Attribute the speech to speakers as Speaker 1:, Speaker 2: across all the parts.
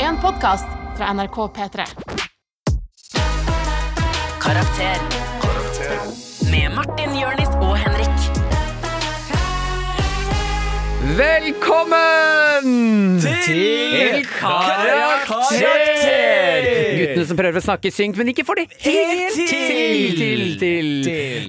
Speaker 1: en podkast fra NRK P3.
Speaker 2: Karakter. Med Martin, Jørnis og Henrik.
Speaker 3: Velkommen til Karakter! Guttene som prøver å snakke synk, men ikke får det helt til! Til, til,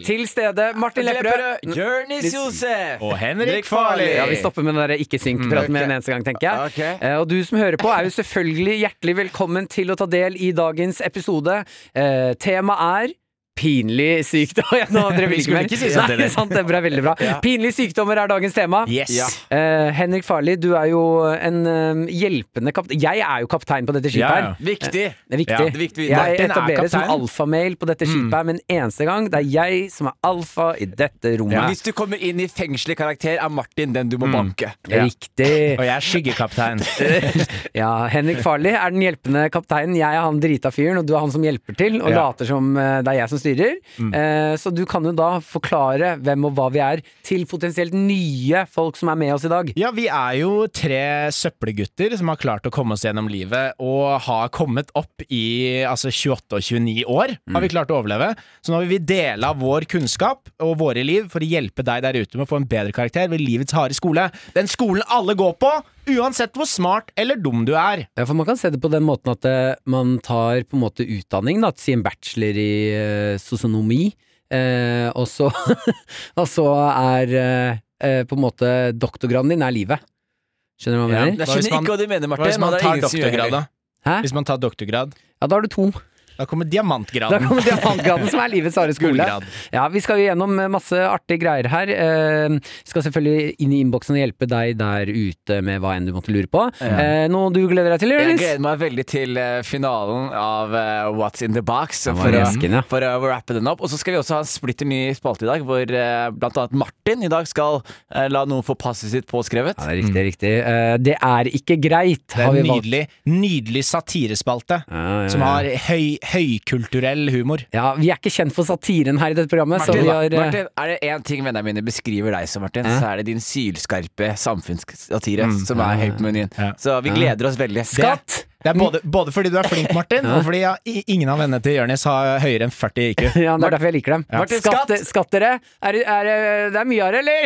Speaker 3: til, stede. Martin Lepperød.
Speaker 4: Jonis Josef!
Speaker 5: Og Henrik
Speaker 4: Farley.
Speaker 3: Ja, Vi stopper med den der ikke
Speaker 5: Mm.
Speaker 3: synk-praten med en eneste gang, tenker jeg.
Speaker 4: Ok.
Speaker 3: Eh, Og du som hører på, er jo selvfølgelig hjertelig velkommen til å ta del i dagens episode. Eh, Temaet er Pinlig sykdom. Ja, nå drev
Speaker 5: Vi skulle
Speaker 3: mer.
Speaker 5: ikke si sånt,
Speaker 3: Nei,
Speaker 5: eller?
Speaker 3: sant, det er bra, veldig bra. Pinlige sykdommer er dagens tema.
Speaker 5: Yes.
Speaker 4: Ja.
Speaker 3: Eh, Henrik Farli, du er jo en eh, hjelpende kaptein Jeg er jo kaptein på dette skipet
Speaker 5: Ja, ja.
Speaker 3: her.
Speaker 4: Viktig!
Speaker 3: Det er viktig.
Speaker 5: Ja,
Speaker 4: det er viktig.
Speaker 3: Jeg
Speaker 5: Martin er
Speaker 3: etableres som
Speaker 5: kaptein. Mm.
Speaker 3: alfamail på dette skipet her, men eneste gang det er jeg som er alfa i dette
Speaker 4: Men
Speaker 3: rommet.
Speaker 4: Hvis du kommer inn i fengselet karakter, er Martin den du må banke.
Speaker 5: Ja.
Speaker 3: Riktig.
Speaker 5: Og jeg er skyggekaptein.
Speaker 3: Ja, Henrik Farli er den hjelpende kapteinen. Jeg er han drita fyren, og du er han som hjelper til og
Speaker 5: Ja.
Speaker 3: later som eh, det er jeg som styrer. Eh, Så du kan jo da forklare hvem og hva vi er til potensielt nye folk som er med oss i dag.
Speaker 5: Ja, vi er jo tre søppelgutter som har klart å komme oss gjennom livet, og har kommet opp i altså 28 og 29 år, har vi klart å overleve. Så nå vil vi dele av vår kunnskap og våre liv for å hjelpe deg der ute med å få en bedre karakter ved livets harde skole. Den skolen alle går på, uansett hvor smart eller dum du er.
Speaker 3: Ja, for man kan se det på den måten at eh, man tar på en måte utdanning, da, si en bachelor i eh, sosionomi, eh, og så, og så er eh, eh, på en måte doktorgraden din er livet. Skjønner du hva jeg
Speaker 4: Jeg
Speaker 3: mener?
Speaker 5: Hva hvis
Speaker 4: skjønner
Speaker 5: man-
Speaker 4: ikke hva du mener,
Speaker 5: Hva
Speaker 4: Martin.
Speaker 5: hvis man
Speaker 4: men det er
Speaker 5: tar
Speaker 4: ingen som gjør
Speaker 5: doktorgrad, da?
Speaker 4: heller.
Speaker 3: Hæ?
Speaker 5: Hvis man tar doktorgrad,
Speaker 3: Ja, da har du to.
Speaker 5: da kommer
Speaker 3: Da
Speaker 5: diamantgraden.
Speaker 3: kommer diamantgraden, som er livets harde skole.
Speaker 5: Gullgrad.
Speaker 3: Ja, vi skal jo gjennom eh, masse artige greier her. Eh, skal selvfølgelig inn i innboksen og hjelpe deg der ute med hva enn du måtte lure på. Eh, noe du gleder deg til,
Speaker 4: Jeg
Speaker 3: Jonis?
Speaker 4: gleder meg veldig til eh, finalen av eh, What's in the box.
Speaker 3: Den var
Speaker 4: For,
Speaker 3: resken, ja.
Speaker 4: å, for å wrappe den opp. Og så skal vi også ha en splitter ny spalte i dag, hvor eh, blant annet Martin i dag skal eh, la noen få passet sitt påskrevet.
Speaker 3: Ja, det er riktig,
Speaker 4: Mm.
Speaker 3: riktig. Eh, det er ikke greit,
Speaker 5: Det
Speaker 3: har
Speaker 5: er
Speaker 3: vi
Speaker 5: en
Speaker 3: valgt.
Speaker 5: nydelig, nydelig satirespalte
Speaker 3: Ja, ja,
Speaker 5: som
Speaker 3: ja.
Speaker 5: har høy, høykulturell humor.
Speaker 3: Ja, Vi er ikke kjent for satiren her i dette programmet. så
Speaker 4: Martin,
Speaker 3: vi har, eh,
Speaker 4: Martin, er det én ting vennene mine beskriver deg som, Martin, så er det din sylskarpe samfunnssatire
Speaker 3: Mm.
Speaker 4: som er høyt på menyen.
Speaker 5: Ja.
Speaker 4: Så vi gleder oss veldig.
Speaker 3: Skatt!
Speaker 5: Det er både, både fordi du er flink, Martin, og fordi ja, i- ingen av vennene til Jonis har høyere enn 40 IQ.
Speaker 3: Ja, Det er derfor jeg liker dem.
Speaker 4: Martin,
Speaker 3: Skatt,
Speaker 4: skatt!
Speaker 3: skatt dere! Er, det- er, det- det er mye av det, eller?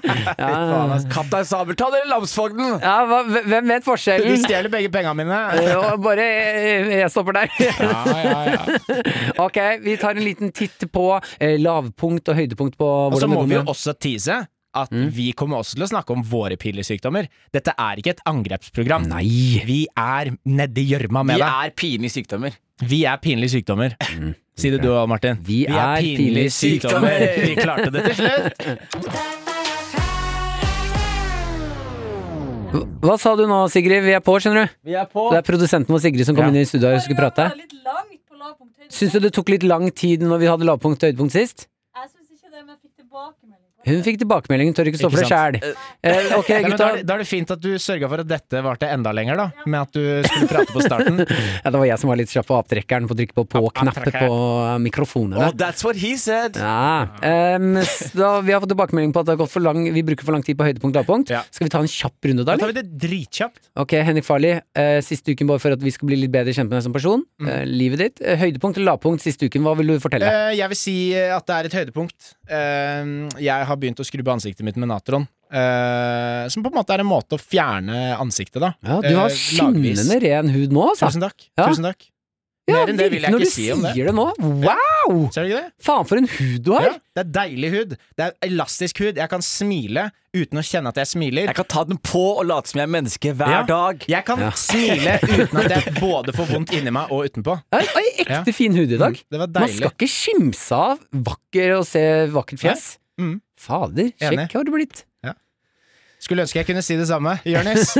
Speaker 4: Ja.
Speaker 5: altså.
Speaker 4: Kaptein Sabeltann eller Lamsfogden?
Speaker 3: Ja, hva, hvem vet
Speaker 5: Du
Speaker 3: forskjellen?
Speaker 5: stjeler begge pengene mine.
Speaker 3: Eh, og Bare eh, Jeg stopper der.
Speaker 5: Ja, ja, ja.
Speaker 3: Ok, vi tar en liten titt på eh, lavpunkt og høydepunkt på
Speaker 5: Og så
Speaker 3: hvordan
Speaker 5: må
Speaker 3: det
Speaker 5: vi
Speaker 3: går
Speaker 5: jo
Speaker 3: med Mm.
Speaker 5: også tease at vi kommer også til å snakke om våre pillesykdommer. Dette er ikke et angrepsprogram.
Speaker 3: Nei!
Speaker 5: Vi er nedi gjørma med
Speaker 4: Vi
Speaker 5: deg.
Speaker 4: er pinlige sykdommer.
Speaker 5: Vi er pinlige sykdommer. Si det du òg, Martin.
Speaker 3: Mm. Vi er pinlige
Speaker 4: sykdommer.
Speaker 5: Vi klarte det til slutt.
Speaker 3: Hva sa du nå, Sigrid? Vi er på, skjønner du.
Speaker 4: Vi er på.
Speaker 3: Det er produsenten vår, Sigrid, som kom
Speaker 5: Ja.
Speaker 3: inn i studio og skulle prate.
Speaker 6: Litt langt på lavpunkt høydepunkt.
Speaker 3: Syns du det tok litt lang tid når vi hadde lavpunkt og høydepunkt sist?
Speaker 6: Jeg syns ikke det, men jeg fikk tilbakemelding. på det.
Speaker 3: Hun fikk tilbakemeldingen, tør ikke stå for det
Speaker 5: Ikke sant?
Speaker 3: sjæl. Eh, ok,
Speaker 5: Nei, men
Speaker 3: gutta.
Speaker 5: da, er det- da er det fint at du sørga for at dette varte enda lenger, da. Med at du skulle prate på starten.
Speaker 3: Ja, det var jeg som var litt kjapp på avtrekkeren på å trykke på på-knappet
Speaker 5: avtrekker.
Speaker 3: på mikrofonene.
Speaker 4: Oh, that's what he said.
Speaker 3: Ja. em, s- da, vi har fått tilbakemelding på at det har gått for lang, vi bruker for lang tid på høydepunkt og lavpunkt.
Speaker 5: Ja.
Speaker 3: Skal vi ta en kjapp runde da?
Speaker 5: Da tar
Speaker 3: eller?
Speaker 5: vi det dritkjapt.
Speaker 3: Ok, Henrik Farli, eh, siste uken bare for at vi skal bli litt bedre kjent med deg som person. Eh, livet ditt. Eh, høydepunkt eller lavpunkt siste uken, hva vil du fortelle?
Speaker 5: Mm. Eh, jeg vil si eh, at det er et høydepunkt. Eh, jeg har begynt å skrubbe ansiktet mitt med natron. eh, som på en måte er en måte å fjerne ansiktet, da.
Speaker 3: Ja, du har
Speaker 5: Eh, lagvis.
Speaker 3: skinnende ren hud nå, altså.
Speaker 5: Tusen takk.
Speaker 3: Ja.
Speaker 5: Tusen takk.
Speaker 3: Ja,
Speaker 5: Mer enn det vil jeg
Speaker 3: når
Speaker 5: ikke
Speaker 3: du
Speaker 5: si om det.
Speaker 3: sier det nå.
Speaker 5: Ja.
Speaker 3: Wow!
Speaker 5: Ser du ikke det?
Speaker 3: Faen, for en hud du har!
Speaker 5: Ja, det er deilig hud. Det er elastisk hud. Jeg kan smile uten å kjenne at jeg smiler.
Speaker 4: Jeg kan ta den på og late som jeg er menneske hver
Speaker 5: Ja.
Speaker 4: dag.
Speaker 5: Jeg kan
Speaker 3: Ja.
Speaker 5: smile uten at jeg både får vondt inni meg og utenpå.
Speaker 3: Oi, oi, ekte fin hud i dag.
Speaker 5: Det var
Speaker 3: Man
Speaker 5: Mm, deilig.
Speaker 3: skal ikke skimse av vakker og se vakkert fjes.
Speaker 5: Mm.
Speaker 3: Fader, sjekk
Speaker 5: Enig.
Speaker 3: hva har du blitt.
Speaker 5: Skulle ønske jeg kunne si det samme. Jonis.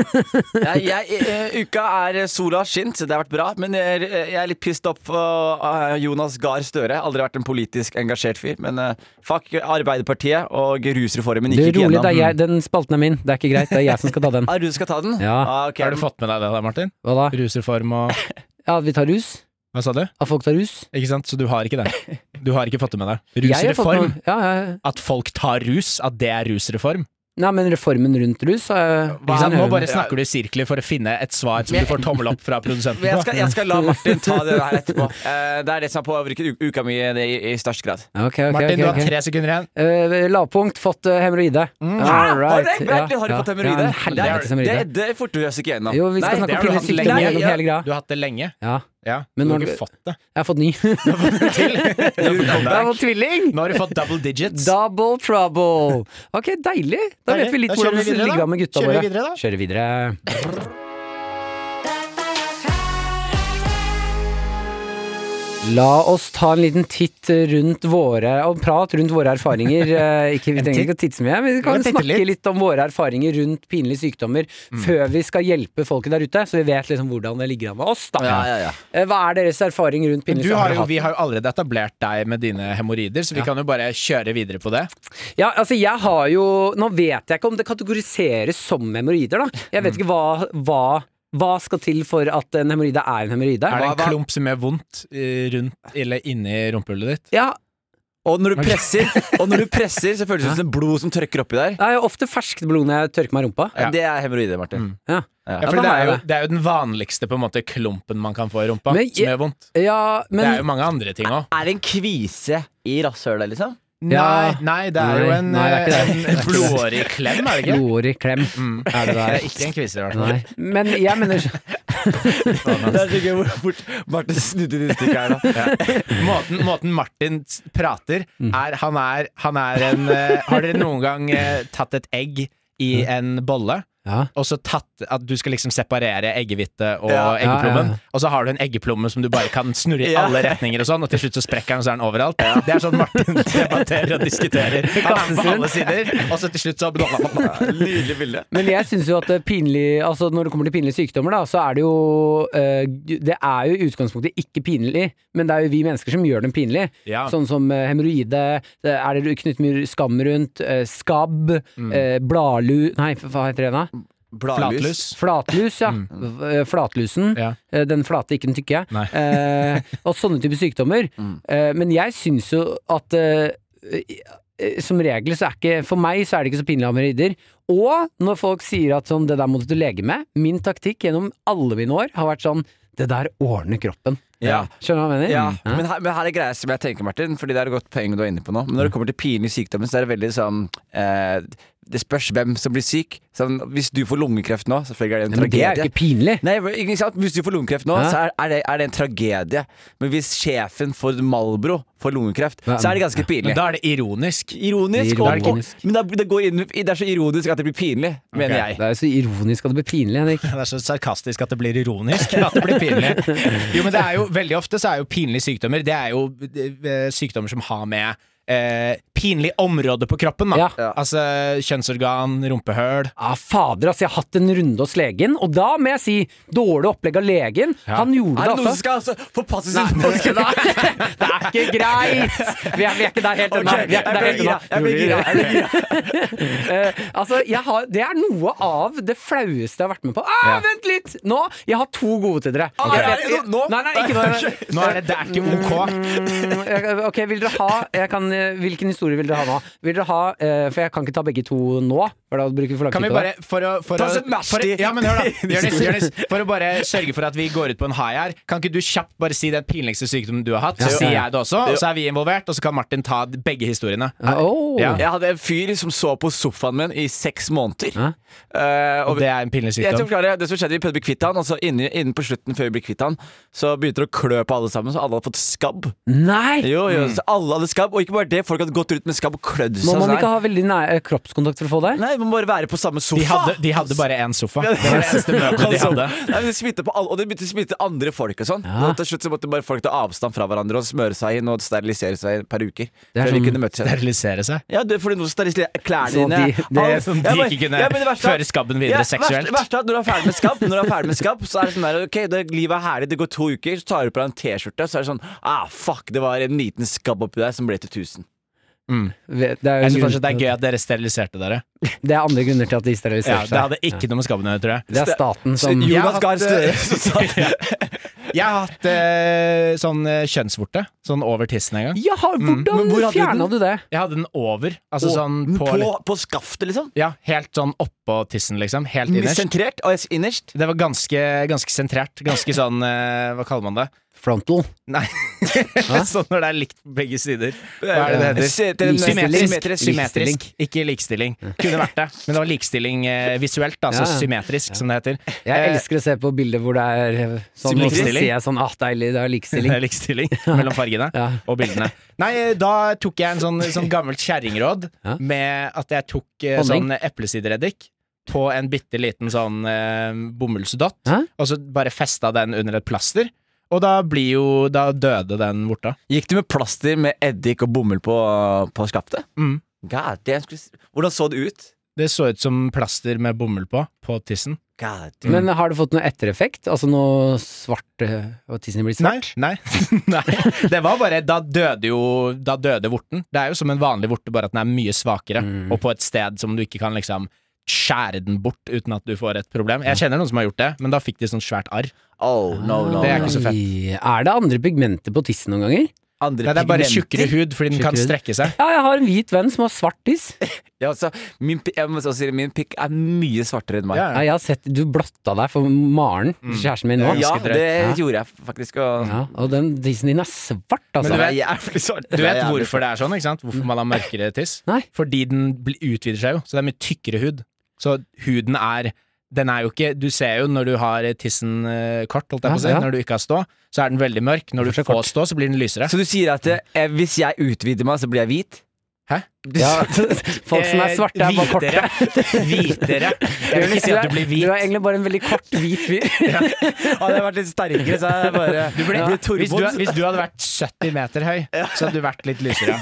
Speaker 4: Jeg, jeg, eh, uka er sola har skint, så det har vært bra. Men jeg, er- eh, jeg er litt pissed opp på eh, Jonas Gahr Støre. Aldri vært en politisk engasjert fyr. Men eh, fuck Arbeiderpartiet og rusreformen
Speaker 3: Du,
Speaker 4: gikk ikke
Speaker 3: rolig,
Speaker 4: gjennom.
Speaker 3: det er jeg, den spalten er min. Det er ikke greit, det er jeg som skal ta den.
Speaker 4: Ah, du skal ta den?
Speaker 3: Ja.
Speaker 4: Ah, ok.
Speaker 5: Har du fått med deg det da, Martin?
Speaker 3: Hva da?
Speaker 5: Rusreform og
Speaker 3: Ja, at vi tar rus?
Speaker 5: Hva sa du?
Speaker 3: At folk tar rus?
Speaker 5: Ikke sant? Så du har ikke det. Du har ikke fått det med deg.
Speaker 3: Jeg har fått
Speaker 5: Rusreform.
Speaker 3: noe- Ja, ja.
Speaker 5: At folk tar rus, at det er rusreform.
Speaker 3: Nei, men reformen rundt rus eh,
Speaker 5: Hva
Speaker 3: ikke
Speaker 5: er,
Speaker 3: sant?
Speaker 5: nå bare snakker du i sirkler for å finne et svar som du får tommel opp fra produsenten.
Speaker 4: Men jeg skal,
Speaker 5: på.
Speaker 4: jeg skal la Martin ta det her etterpå. Eh, det er det som har påvirket u- uka mi i, i størst grad.
Speaker 3: Ok, ok,
Speaker 5: Martin,
Speaker 3: ok,
Speaker 5: du har
Speaker 3: ok.
Speaker 5: tre sekunder igjen.
Speaker 3: Eh, lavpunkt, fått eh, hemoroide. All
Speaker 4: Hæ? Har
Speaker 3: right.
Speaker 4: du egentlig har du fått hemoroide?
Speaker 3: Ja, en helvetes
Speaker 4: det,
Speaker 3: hemoroide.
Speaker 4: det, det forter vi oss ikke gjennom.
Speaker 3: Jo, vi skal
Speaker 4: Nei,
Speaker 5: det
Speaker 3: snakke om
Speaker 5: har du
Speaker 3: piller,
Speaker 5: hatt
Speaker 3: sykdom
Speaker 5: lenge.
Speaker 3: gjennom hele
Speaker 5: Du
Speaker 3: greia.
Speaker 5: har hatt det lenge.
Speaker 3: Ja,
Speaker 5: Ja.
Speaker 3: Men
Speaker 5: du har
Speaker 3: når
Speaker 5: ikke
Speaker 3: du-
Speaker 5: fått det.
Speaker 3: jeg har fått ny. jeg har fått tvilling!
Speaker 5: Nå har du fått double digits.
Speaker 3: Double trouble! Ok, deilig. Da vet
Speaker 5: Deilig.
Speaker 3: vi litt
Speaker 5: Da kjører
Speaker 3: hvordan
Speaker 5: vi
Speaker 3: det
Speaker 5: videre,
Speaker 3: ligger
Speaker 5: da.
Speaker 3: an med gutta
Speaker 5: Kjører vi
Speaker 3: våre.
Speaker 5: videre, da?
Speaker 3: Kjører videre. La oss ta en liten titt rundt våre og prat rundt våre erfaringer. Eh, Ikke, vi
Speaker 5: En
Speaker 3: trenger
Speaker 5: titt?
Speaker 3: ikke å titte så mye, men vi kan
Speaker 5: kan titte
Speaker 3: snakke litt.
Speaker 5: litt. Mm.
Speaker 3: om våre erfaringer rundt pinlige sykdommer før vi skal hjelpe folket der ute, så vi vet liksom hvordan det ligger an med oss. Da.
Speaker 4: Ja, ja, ja.
Speaker 3: Eh, Hva er deres erfaring rundt
Speaker 5: Men
Speaker 3: pinlige
Speaker 5: du har jo,
Speaker 3: hatt?
Speaker 5: vi har jo allerede etablert deg med dine hemoroider, så vi kan jo bare kjøre videre på det.
Speaker 3: Ja, altså jeg har jo Nå vet jeg ikke om det kategoriseres som hemoroider, da. Jeg
Speaker 5: Mm.
Speaker 3: vet ikke hva, hva hva skal til for at en hemoroide er en hemoroide?
Speaker 5: Er det en
Speaker 4: hva-
Speaker 5: klump som gjør vondt eh, rundt eller inni rumpehullet ditt?
Speaker 3: Ja,
Speaker 4: Og når du presser, og når du presser så føles det som blod som trykker oppi der.
Speaker 3: det er jo ofte ferskt blod når jeg tørker meg i rumpa.
Speaker 5: Ja.
Speaker 4: Det er hemoroider, Martin.
Speaker 5: Mm.
Speaker 3: Ja.
Speaker 5: Ja, for
Speaker 3: da
Speaker 5: det,
Speaker 3: har
Speaker 5: er
Speaker 3: jeg
Speaker 5: jo,
Speaker 3: det.
Speaker 5: det er jo den vanligste på en måte klumpen man kan få i rumpa,
Speaker 3: Men
Speaker 5: som
Speaker 3: jeg-
Speaker 5: gjør vondt.
Speaker 3: ja, men
Speaker 5: det er jo mange andre ting òg.
Speaker 4: Er det en kvise i rasshølet, liksom?
Speaker 3: Ja.
Speaker 5: Nei, nei, det er jo
Speaker 3: Nei,
Speaker 5: en,
Speaker 3: nei, det er ikke det.
Speaker 5: eh, en blodårig klem, er det ikke?
Speaker 3: blodår i klem er det
Speaker 5: Det Mm. er
Speaker 3: der.
Speaker 5: ikke en kvise, i hvert fall.
Speaker 3: Nei. Men jeg mener
Speaker 4: Det er så gøy hvor fort Martin snudde ditt stikk her nå.
Speaker 5: Måten, måten Martin s- prater
Speaker 3: Mm.
Speaker 5: er han, er han er en eh, Har dere noen gang eh, tatt et egg i
Speaker 3: Mm.
Speaker 5: en bolle?
Speaker 3: ja.
Speaker 5: Og så tatt At du skal liksom separere eggehvite og
Speaker 4: Ja.
Speaker 5: eggeplommen.
Speaker 3: Ja, ja, ja.
Speaker 5: Og så har du en eggeplomme som du bare kan snurre i
Speaker 4: Ja.
Speaker 5: alle retninger, og sånn Og til slutt så sprekker den, og så er den overalt. Det er sånn Martin debatterer og diskuterer. Han er på alle sider, og så til slutt så
Speaker 4: Nydelig bilde.
Speaker 3: Men jeg syns jo at det er pinlig Altså når det kommer til pinlige sykdommer, da, så er det jo eh, g- Det er jo i utgangspunktet ikke pinlig, men det er jo vi mennesker som gjør dem pinlige.
Speaker 5: Ja.
Speaker 3: Sånn som uh, hemoroide, det er det knyttet mye skam rundt, eh, skabb, eh, bladlu... Nei, f- hva heter det da?
Speaker 5: Flatlus.
Speaker 3: Flatlus,
Speaker 4: Mm.
Speaker 3: ja. V- eh, Flatlusen.
Speaker 5: Ja.
Speaker 3: Eh, Den flate, ikke den tykke.
Speaker 5: Nei.
Speaker 3: Eh, og sånne typer sykdommer.
Speaker 4: Mm.
Speaker 3: Eh, men jeg syns jo at eh, eh, som regel så er ikke For meg så er det ikke så pinlig å ha hemoroider. Og når folk sier at sånn, det der må du til lege med, min taktikk gjennom alle mine år har vært sånn det der ordner kroppen.
Speaker 4: Ja.
Speaker 3: Skjønner du hva jeg mener?
Speaker 4: Ja,
Speaker 3: Mm.
Speaker 4: men her, men her er greia som jeg tenker, Martin, fordi det er et godt poeng du er inne på nå. Men når det kommer til pinlige sykdommer, så er det veldig sånn eh, Det spørs hvem som blir syk. Sånn, hvis du får lungekreft nå, selvfølgelig er det en
Speaker 3: Men det
Speaker 4: tragedie.
Speaker 3: er jo ikke pinlig.
Speaker 4: Nei, men ikke sant? Hvis du får lungekreft nå,
Speaker 3: Hæ?
Speaker 4: så er, er, det, er det en tragedie. Men hvis sjefen for Malbro får lungekreft,
Speaker 3: Hva-
Speaker 4: så er det ganske pinlig.
Speaker 5: Men da er det ironisk.
Speaker 4: Ironisk,
Speaker 3: Det er
Speaker 4: og-
Speaker 3: ironisk.
Speaker 4: Og, men da, det, går inn, det er så ironisk at det blir pinlig, mener
Speaker 5: Ok.
Speaker 4: jeg.
Speaker 3: Det er jo så ironisk at det blir pinlig, Henrik.
Speaker 5: Det er så sarkastisk at det blir ironisk. At det blir pinlig. Jo, men det er jo veldig ofte så er jo pinlige sykdommer Det er jo eh, sykdommer som har med eh, pinlig område på kroppen, da.
Speaker 3: Ja.
Speaker 4: Ja.
Speaker 5: Altså kjønnsorgan, rumpehøl.
Speaker 3: Ah, fader, altså, jeg har hatt en runde hos legen, og da må jeg si dårlig opplegg av legen. Han gjorde
Speaker 4: Er det
Speaker 3: det,
Speaker 4: noen som
Speaker 3: altså.
Speaker 4: skal altså, forpasse sin påske, da?
Speaker 3: Det er ikke greit! Vi er, vi er ikke der helt ennå.
Speaker 4: Ok,
Speaker 3: Vi er ikke der
Speaker 4: jeg
Speaker 3: helt
Speaker 4: blir gira, jeg blir gira, jeg blir gira.
Speaker 3: Eh, altså, jeg har, det er noe av det flaueste jeg har vært med på. Ah,
Speaker 5: Ja.
Speaker 3: Vent litt! Nå, Jeg har to gode til dere.
Speaker 4: Ah,
Speaker 3: Jeg
Speaker 4: nei,
Speaker 3: vet-
Speaker 4: nei, nå- nå?
Speaker 3: Nei, nei, ikke nå. nei, nei.
Speaker 5: Nå er det, det er ikke ok.
Speaker 3: Mm, jeg- Ok, vil dere ha jeg kan, eh, Hvilken historie vil dere ha nå? Vil dere ha, eh, For jeg kan ikke ta begge to nå. For da bruker vi for lang
Speaker 5: Kan vi
Speaker 3: tid på
Speaker 5: bare
Speaker 3: det.
Speaker 5: for å, for
Speaker 4: Ta
Speaker 5: å,
Speaker 4: oss et nasty.
Speaker 5: for, ja, men hør da, Jonis, Jonis, for å bare sørge for at vi går ut på en high her, kan ikke du kjapt bare si den pinligste sykdommen du har hatt? Så
Speaker 3: Ja.
Speaker 5: sier jeg det også, og så er vi involvert, og så kan Martin ta begge historiene.
Speaker 3: Oh.
Speaker 5: Ja.
Speaker 4: Jeg hadde en fyr som så på sofaen min i seks måneder.
Speaker 3: Hæ?
Speaker 4: Eh, og
Speaker 5: Og det er en pinlig
Speaker 4: Jeg skal
Speaker 5: sykdom.
Speaker 4: forklare, det som skjedde Vi prøvde å bli kvitt han, og så innen, innen på slutten før vi ble kvitt han, så begynte det å klø på alle sammen, så alle hadde fått skabb.
Speaker 3: Nei!
Speaker 4: Jo,
Speaker 5: Mm.
Speaker 4: jo, så alle hadde skabb, og ikke bare det, folk hadde gått rundt med skabb og klødd seg.
Speaker 3: Må man
Speaker 4: sånn
Speaker 3: ikke
Speaker 4: her.
Speaker 3: ha veldig nær kroppskontakt for å få det?
Speaker 4: Nei, man må bare være på samme sofa.
Speaker 5: De hadde, de hadde bare én sofa.
Speaker 4: Ja,
Speaker 5: Det var det eneste møtet de
Speaker 4: Altså,
Speaker 5: hadde.
Speaker 4: Nei, men det smittet på alle, og det begynte å smitte andre folk og sånn.
Speaker 3: Ja.
Speaker 4: Og Til slutt så måtte bare folk ta avstand fra hverandre og smøre seg inn og sterilisere seg i et par uker.
Speaker 3: Det er
Speaker 4: Før de
Speaker 3: sånn-
Speaker 4: kunne møtes igjen.
Speaker 5: Sterilisere seg.
Speaker 4: Ja, det er fordi noen steriliserer klærne
Speaker 3: Sånn
Speaker 4: dine.
Speaker 3: at de- det-
Speaker 4: Alt-
Speaker 5: sånn at de
Speaker 4: Ja, men-
Speaker 5: ikke kunne
Speaker 4: ja, men det verste er-
Speaker 5: føre skabben videre seksuelt.
Speaker 4: Verst, verst er at når du er ferdig med skabb, når du er ferdig med skabb så er det sånn der Ok, det, livet er herlig, det går to uker, så tar du på deg en T-skjorte, så er det sånn Ah, fuck, det var en liten skabb oppi der som ble til 1000.
Speaker 3: Det er, jo
Speaker 5: Jeg synes
Speaker 3: grunn-
Speaker 5: fortsatt det er gøy at dere steriliserte dere.
Speaker 3: det er andre grunner til at de
Speaker 5: Ja,
Speaker 3: steriliserer
Speaker 5: det
Speaker 3: seg.
Speaker 5: hadde ikke noe med skabben å gjøre, tror jeg.
Speaker 3: Det er staten som
Speaker 5: Jeg
Speaker 4: Jonas
Speaker 5: har
Speaker 4: Gahr
Speaker 5: hatt, eh,
Speaker 4: Støre som sa det.
Speaker 5: Jeg har hatt eh, sånn eh, kjønnsvorte. Sånn over tissen en gang.
Speaker 3: Ja,
Speaker 4: Men hvor
Speaker 3: hvordan
Speaker 4: hadde du
Speaker 3: fjerna du det?
Speaker 5: Jeg hadde den over. Altså
Speaker 4: Og-
Speaker 5: sånn på,
Speaker 4: på,
Speaker 5: litt-
Speaker 4: på skaftet, liksom?
Speaker 5: Ja, helt sånn oppå tissen, liksom. Helt innerst.
Speaker 4: Sentrert? Og innerst?
Speaker 5: Det var ganske, ganske sentrert. Ganske sånn eh, Hva kaller man det?
Speaker 3: Frontal.
Speaker 5: Nei, sånn når det er likt på begge sider. Hva er det det heter?
Speaker 4: Se- til en-
Speaker 5: Symmetrisk.
Speaker 4: symmetrisk.
Speaker 5: symmetrisk. Ikke likstilling. Kunne vært det, men det var likstilling eh, visuelt, altså
Speaker 3: Ja, ja.
Speaker 5: symmetrisk, som det heter.
Speaker 3: Jeg
Speaker 5: Eh,
Speaker 3: elsker å se på bilder hvor det er eh, sånn og så
Speaker 5: Likestilling.
Speaker 3: sier jeg sånn ah, deilig, det er likestilling.
Speaker 5: Det er Likestilling mellom fargene
Speaker 3: Ja.
Speaker 5: og bildene. Nei, eh, da tok jeg en sånn, sånn gammelt kjerringråd
Speaker 3: Ja.
Speaker 5: med at jeg tok eh,
Speaker 3: Honning.
Speaker 5: sånn eplesidereddik på en bitte liten sånn eh, bomullsdott,
Speaker 3: Hæ?
Speaker 5: og så bare festa den under et plaster. Og da blir jo Da døde den borte.
Speaker 4: Eh, Gikk du med plaster med eddik og bomull på, på skaftet?
Speaker 5: Mm.
Speaker 4: God damn, skulle s- Hvordan så det ut?
Speaker 5: Det så ut som plaster med bomull på, på tissen.
Speaker 4: God damn.
Speaker 3: Mm. Men har det fått noe ettereffekt? Altså noe svart eh, Og tissen blir svart?
Speaker 5: Nei, nei, nei. Det var bare Da døde jo Da døde vorten. Det er jo som en vanlig vorte, bare at den er mye svakere,
Speaker 3: Mm.
Speaker 5: og på et sted som du ikke kan liksom skjære den bort uten at du får et problem. Jeg kjenner noen som har gjort det, men da fikk de sånn svært arr.
Speaker 4: Oh, no, no.
Speaker 5: Det er ikke så fett.
Speaker 3: Oi, Er det andre pigmenter på tissen noen ganger?
Speaker 4: Andre
Speaker 5: Nei, det er bare tjukkere
Speaker 4: pigmenter.
Speaker 5: hud, fordi den kan
Speaker 3: Tjukkere hud.
Speaker 5: strekke seg.
Speaker 3: Ja, jeg har en hvit venn som har svart tiss.
Speaker 4: Ja, altså, min, pi- jeg må så si det, min pikk er mye svartere enn meg.
Speaker 3: Ja, jeg har sett, du blotta deg for Maren, kjæresten min nå.
Speaker 4: Ja,
Speaker 5: ganske drøyt.
Speaker 4: det
Speaker 3: Ja.
Speaker 4: gjorde jeg faktisk. Og,
Speaker 3: Ja, og den tissen din er svart,
Speaker 5: Men
Speaker 3: altså.
Speaker 5: du vet-
Speaker 4: jeg er jævlig svart.
Speaker 5: Du vet hvorfor det er sånn, ikke sant? Hvorfor man har mørkere tiss?
Speaker 3: Nei.
Speaker 5: Fordi den bli- utvider seg jo, så det er mye tykkere hud. Så huden er Den er jo ikke Du ser jo når du har tissen eh, kort, holdt jeg på å si,
Speaker 3: Ja, ja.
Speaker 5: når du ikke har stå, så er den veldig mørk. Når du får stå, så blir den lysere.
Speaker 4: Så du sier at eh, hvis jeg utvider meg, så blir jeg hvit?
Speaker 5: Hæ?
Speaker 3: Ja, folk som er svarte, er bare korte.
Speaker 5: Hvitere. Hvitere. Jeg vil ikke si at du blir hvit.
Speaker 3: Du er egentlig bare en veldig kort, hvit fyr.
Speaker 4: Hadde jeg vært litt sterkere, så hadde jeg bare
Speaker 5: Du ble,
Speaker 4: blitt
Speaker 5: hvis, du,
Speaker 4: Tormod.
Speaker 5: hvis du hadde vært 70 meter høy, så hadde du vært litt lysere.